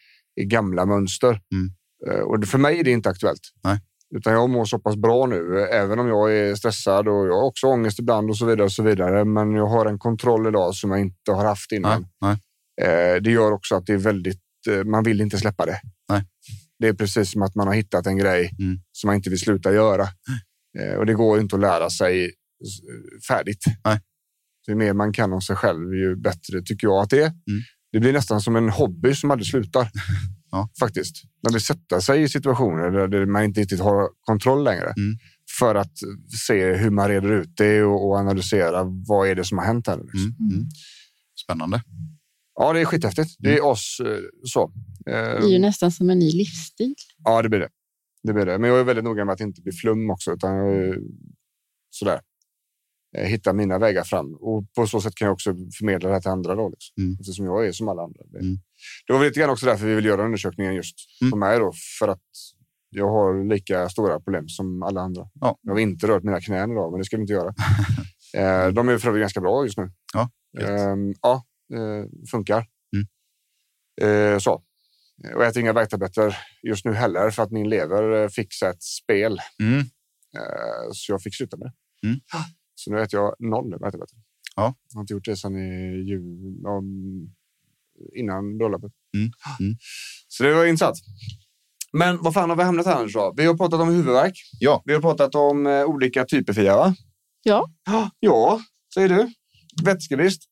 [SPEAKER 1] i gamla mönster.
[SPEAKER 2] Mm.
[SPEAKER 1] Eh, Och det- för mig är det inte aktuellt.
[SPEAKER 2] Nej.
[SPEAKER 1] Utan jag mår så pass bra nu, eh, även om jag är stressad och jag har också ångest ibland och så vidare. Och så vidare. Men jag har en kontroll idag som jag inte har haft innan.
[SPEAKER 2] Nej, nej.
[SPEAKER 1] Eh, Det gör också att det är väldigt, eh, man vill inte släppa det.
[SPEAKER 2] Nej.
[SPEAKER 1] Det är precis som att man har hittat en grej
[SPEAKER 2] Mm.
[SPEAKER 1] som man inte vill sluta göra. Eh, Och det går ju inte att lära sig s- färdigt.
[SPEAKER 2] Nej.
[SPEAKER 1] Så Ju mer man kan om sig själv, ju bättre tycker jag att det är.
[SPEAKER 2] Mm.
[SPEAKER 1] Det blir nästan som en hobby som aldrig slutar.
[SPEAKER 2] Ja.
[SPEAKER 1] Faktiskt. Man vill sätta sig i situationer där- där man inte riktigt har kontroll längre.
[SPEAKER 2] Mm.
[SPEAKER 1] För att se hur man reder ut det och och analysera vad är det som har hänt här. Liksom.
[SPEAKER 2] Mm. Mm. Spännande.
[SPEAKER 1] Ja, det är skithäftigt. Det är oss eh, så.
[SPEAKER 3] Det
[SPEAKER 1] Eh,
[SPEAKER 3] är ju nästan som en ny livsstil.
[SPEAKER 1] Ja, det blir det. det blir det. Men jag är väldigt noga med att inte bli flum också. Utan eh, sådär. Eh, Hitta mina vägar fram. Och på så sätt kan jag också förmedla det här till andra. Då, liksom.
[SPEAKER 2] Mm.
[SPEAKER 1] Eftersom jag är som alla andra. Det-
[SPEAKER 2] Mm.
[SPEAKER 1] Det var väl lite grann också därför vi vill göra undersökningen just
[SPEAKER 2] Mm.
[SPEAKER 1] på mig. Då, för att jag har lika stora problem som alla andra.
[SPEAKER 2] Ja.
[SPEAKER 1] Jag har inte rört mina knän idag, men det ska du inte göra. Eh, De är för övrigt ganska bra just nu.
[SPEAKER 2] Ja, gött.
[SPEAKER 1] Ehm, ja eh, funkar.
[SPEAKER 2] Mm.
[SPEAKER 1] Eh, så. Och jag äter inga värktabletter just nu heller för att min lever eh, fick sig ett spel.
[SPEAKER 2] Mm.
[SPEAKER 1] Eh, Så jag fick sluta med det.
[SPEAKER 2] Mm.
[SPEAKER 1] Så nu äter jag noll värktabletter.
[SPEAKER 2] Ja.
[SPEAKER 1] Jag har inte gjort det sedan i jul, om, innan bröllopet.
[SPEAKER 2] Mm. Mm.
[SPEAKER 1] Så det var intressant. Men vad fan har vi hamnat här nu då? Vi har pratat om huvudvärk.
[SPEAKER 2] Ja.
[SPEAKER 1] Vi har pratat om eh, olika typer Fia, va?
[SPEAKER 3] Ja.
[SPEAKER 1] Ja, Ja, säger du. Vätskebrist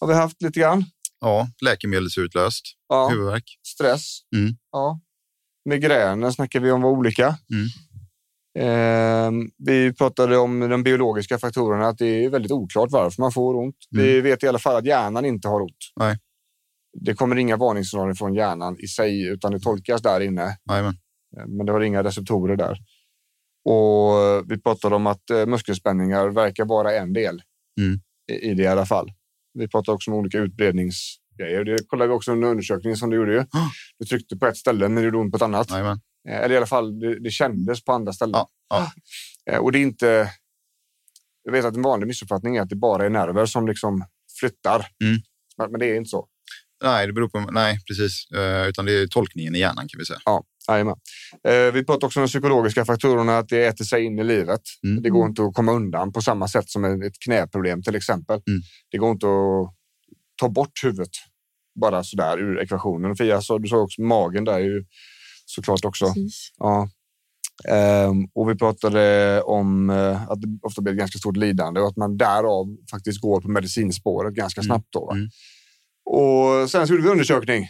[SPEAKER 1] har vi haft lite grann.
[SPEAKER 2] Ja, läkemedelsutlöst.
[SPEAKER 1] Ja.
[SPEAKER 2] Huvudvärk.
[SPEAKER 1] Stress.
[SPEAKER 2] Mm.
[SPEAKER 1] Ja. Migräner snackar vi om var olika.
[SPEAKER 2] Mm.
[SPEAKER 1] Eh, vi pratade om de biologiska faktorerna, att det är väldigt oklart varför man får ont.
[SPEAKER 2] Mm.
[SPEAKER 1] Vi vet i alla fall att hjärnan inte har ont.
[SPEAKER 2] Nej.
[SPEAKER 1] Det kommer inga varningssignaler från hjärnan i sig, utan det tolkas där inne.
[SPEAKER 2] Jajamän.
[SPEAKER 1] Eh, Men det var inga receptorer där. Och eh, vi pratade om att eh, muskelspänningar verkar vara en del
[SPEAKER 2] Mm.
[SPEAKER 1] i, i det i alla fall. Vi pratade också om olika utbredningsgrejer. Det kollade vi också under undersökningen som du gjorde. Ju.
[SPEAKER 2] Ah.
[SPEAKER 1] Du tryckte på ett ställe men det gjorde ont på ett annat.
[SPEAKER 2] Jajamän.
[SPEAKER 1] Eh, Eller i alla fall, det, det kändes på andra ställen.
[SPEAKER 2] Ja, ja.
[SPEAKER 1] Eh, Och det är inte... Jag vet att en vanlig missuppfattning är att det bara är nerver som liksom flyttar.
[SPEAKER 2] Mm.
[SPEAKER 1] Men- Men det är inte så.
[SPEAKER 2] Nej, det beror på. Nej, precis. Eh, utan det är tolkningen i hjärnan kan vi säga.
[SPEAKER 1] Jajamän. Eh, Vi pratade också om de psykologiska faktorerna, att det äter sig in i livet.
[SPEAKER 2] Mm.
[SPEAKER 1] Det går inte att komma undan på samma sätt som ett knäproblem till exempel.
[SPEAKER 2] Mm.
[SPEAKER 1] Det går inte att ta bort huvudet bara sådär ur ekvationen. Fia, så, du sa också magen där är ju såklart också.
[SPEAKER 3] Precis.
[SPEAKER 1] Ja. Ehm, och vi pratade om eh, att det ofta blir ett ganska stort lidande och att man därav faktiskt går på medicinspåret ganska
[SPEAKER 2] Mm.
[SPEAKER 1] snabbt. Då, va?
[SPEAKER 2] Mm.
[SPEAKER 1] Och sen så gjorde vi undersökning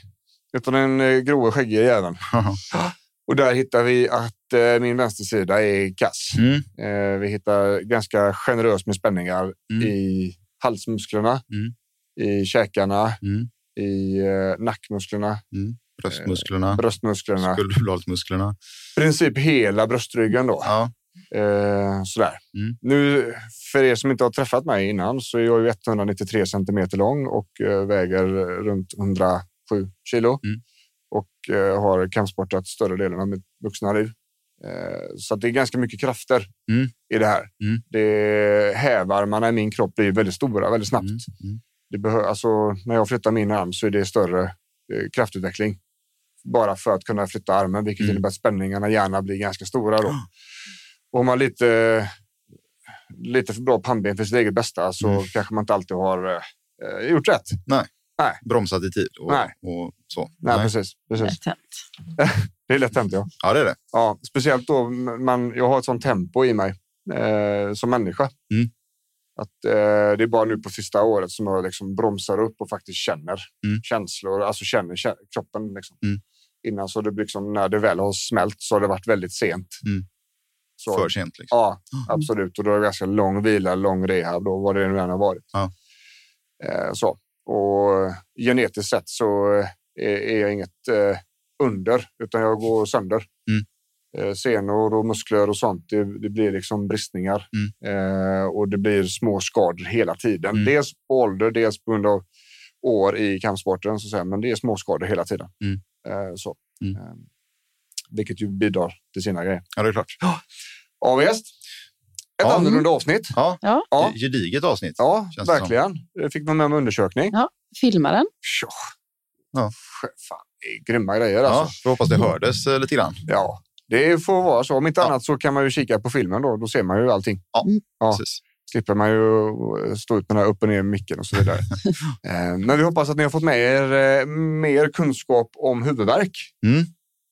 [SPEAKER 1] utan den eh, grova skäggiga jäveln. Och där hittar vi att eh, min vänstersida är kass.
[SPEAKER 2] Mm.
[SPEAKER 1] Eh, vi hittar ganska generöst med spänningar
[SPEAKER 2] Mm.
[SPEAKER 1] i halsmusklerna,
[SPEAKER 2] Mm.
[SPEAKER 1] i käkarna,
[SPEAKER 2] Mm.
[SPEAKER 1] i eh, nackmusklerna,
[SPEAKER 2] Bröstmusklerna.
[SPEAKER 1] bröstmusklerna.
[SPEAKER 2] Skulderbladsmusklerna.
[SPEAKER 1] I princip hela bröstryggen då.
[SPEAKER 2] Ja.
[SPEAKER 1] Eh, sådär.
[SPEAKER 2] Mm.
[SPEAKER 1] Nu, för er som inte har träffat mig innan så är jag ju 193 centimeter lång och eh, väger runt 107 kilo.
[SPEAKER 2] Mm.
[SPEAKER 1] Och eh, har kampsportat större delen av mitt vuxna liv. Eh, så att det är ganska mycket krafter
[SPEAKER 2] Mm.
[SPEAKER 1] i det här.
[SPEAKER 2] Mm.
[SPEAKER 1] Det hävarmarna i min kropp blir väldigt stora väldigt snabbt.
[SPEAKER 2] Mm. Mm.
[SPEAKER 1] Det behö- alltså, när jag flyttar min arm så är det större eh, kraftutveckling. Bara för att kunna flytta armen, vilket
[SPEAKER 2] Mm.
[SPEAKER 1] innebär att spänningarna gärna blir ganska stora. Då.
[SPEAKER 2] Ah.
[SPEAKER 1] Och om man har lite, lite för bra pannben för sitt eget bästa så
[SPEAKER 2] Mm.
[SPEAKER 1] kanske man inte alltid har eh, gjort rätt.
[SPEAKER 2] Bromsat i tid och,
[SPEAKER 1] Nej.
[SPEAKER 2] och så.
[SPEAKER 1] Nej, precis. precis.
[SPEAKER 3] Lätt hänt.
[SPEAKER 1] Det är lätt hänt, ja.
[SPEAKER 2] Ja, det är det.
[SPEAKER 1] ja. Speciellt då man, jag har ett sånt tempo i mig eh, som människa.
[SPEAKER 2] Mm.
[SPEAKER 1] Att, eh, det är bara nu på sista året som jag liksom bromsar upp och faktiskt känner
[SPEAKER 2] Mm.
[SPEAKER 1] känslor, alltså känner kä- kroppen. Liksom.
[SPEAKER 2] Mm.
[SPEAKER 1] Innan så det blir liksom, när det väl har smält så har det varit väldigt sent.
[SPEAKER 2] Mm.
[SPEAKER 1] Så,
[SPEAKER 2] För sent. Liksom.
[SPEAKER 1] Ja, absolut. Och då är det ganska lång vila, lång rehab då, vad det nu än har varit.
[SPEAKER 2] Ja.
[SPEAKER 1] Eh, så. Och eh, genetiskt sett så eh, är är jag inget eh, under, utan jag går sönder.
[SPEAKER 2] Mm.
[SPEAKER 1] eh, senor och muskler och sånt. Det, det blir liksom bristningar eh, och det blir små skador hela tiden.
[SPEAKER 2] Mm.
[SPEAKER 1] Dels på ålder, dels på grund av år i kampsporten, så att säga. men det är små skador hela tiden.
[SPEAKER 2] Mm.
[SPEAKER 1] Eh, så.
[SPEAKER 2] Mm.
[SPEAKER 1] Eh, vilket ju bidrar till sina grejer.
[SPEAKER 2] Ja, det är klart.
[SPEAKER 1] Ja, visst. Ett
[SPEAKER 2] Ja.
[SPEAKER 1] annorlunda avsnitt.
[SPEAKER 2] Ja,
[SPEAKER 3] Ja.
[SPEAKER 1] Ja.
[SPEAKER 2] gediget avsnitt.
[SPEAKER 1] Ja,
[SPEAKER 2] Känns det
[SPEAKER 1] verkligen. Det fick man med om undersökning.
[SPEAKER 3] Filma den.
[SPEAKER 1] Tjo.
[SPEAKER 2] Ja.
[SPEAKER 1] Fan, det är grymma grejer
[SPEAKER 2] Ja,
[SPEAKER 1] alltså.
[SPEAKER 2] vi hoppas det hördes eh, lite grann.
[SPEAKER 1] Ja, det får vara så. Om inte
[SPEAKER 2] Ja.
[SPEAKER 1] annat så kan man ju kika på filmen då. Då ser man ju allting. Ja.
[SPEAKER 2] Precis.
[SPEAKER 1] Slipper man ju stå ut med den här upp och ner micken och så vidare. Eh, Men vi hoppas att ni har fått med er eh, mer kunskap om huvudvärk.
[SPEAKER 2] Mm.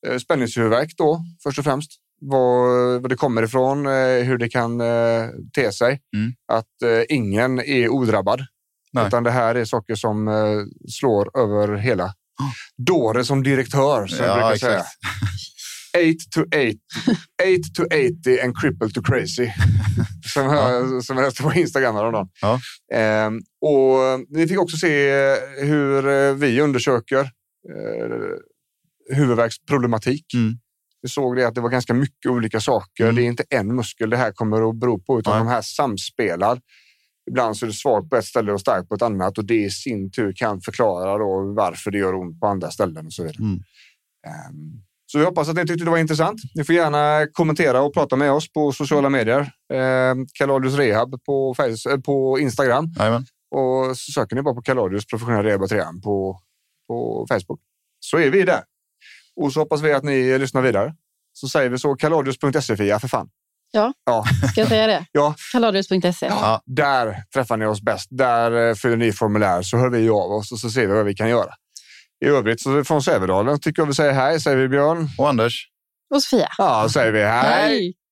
[SPEAKER 1] Eh, Spänningshuvudvärk då först och främst. Var, var det kommer ifrån, eh, hur det kan eh, te sig.
[SPEAKER 2] Mm.
[SPEAKER 1] Att eh, ingen är odrabbad.
[SPEAKER 2] Nej.
[SPEAKER 1] Utan det här är saker som eh, slår över hela.
[SPEAKER 2] Ah.
[SPEAKER 1] Dåre som direktör, som jag brukar säga. 8 to 8. 8 to 80 and cripple to crazy. Som jag, som jag läste på Instagram häromdagen.
[SPEAKER 2] Ja.
[SPEAKER 1] Ehm, och ni fick också se hur eh, vi undersöker eh, huvudvärksproblematik.
[SPEAKER 2] Mm.
[SPEAKER 1] Vi såg det att det var ganska mycket olika saker.
[SPEAKER 2] Mm.
[SPEAKER 1] Det är inte en muskel det här kommer att bero på, utan
[SPEAKER 2] Nej.
[SPEAKER 1] de här samspelar. Ibland så är det svagt på ett ställe och starkt på ett annat och det i sin tur kan förklara då varför det gör ont på andra ställen och så vidare.
[SPEAKER 2] Mm.
[SPEAKER 1] Ehm, så vi hoppas att ni tyckte det var intressant. Ni får gärna kommentera och prata med oss på sociala medier. Ehm, Kaladius Rehab på, Face- eh, på Instagram
[SPEAKER 2] Jajamän.
[SPEAKER 1] och så söker ni bara på Kaladius professionell rehabilitering på, på Facebook. Så är vi där. Och så hoppas vi att ni lyssnar vidare. Så säger vi så, kaladius.se Fia, E för fan.
[SPEAKER 3] Ska jag säga det?
[SPEAKER 1] Ja.
[SPEAKER 3] Kaladius.se.
[SPEAKER 2] Ja.
[SPEAKER 1] Där träffar ni oss bäst. Där eh, fyller ni formulär så hör vi av oss och så ser vi vad vi kan göra. I övrigt så från Sävedalen tycker jag vi säger hej, säger vi Björn.
[SPEAKER 2] Och Anders,
[SPEAKER 3] Och Sofia.
[SPEAKER 1] Ja, säger vi hej.
[SPEAKER 3] Hej.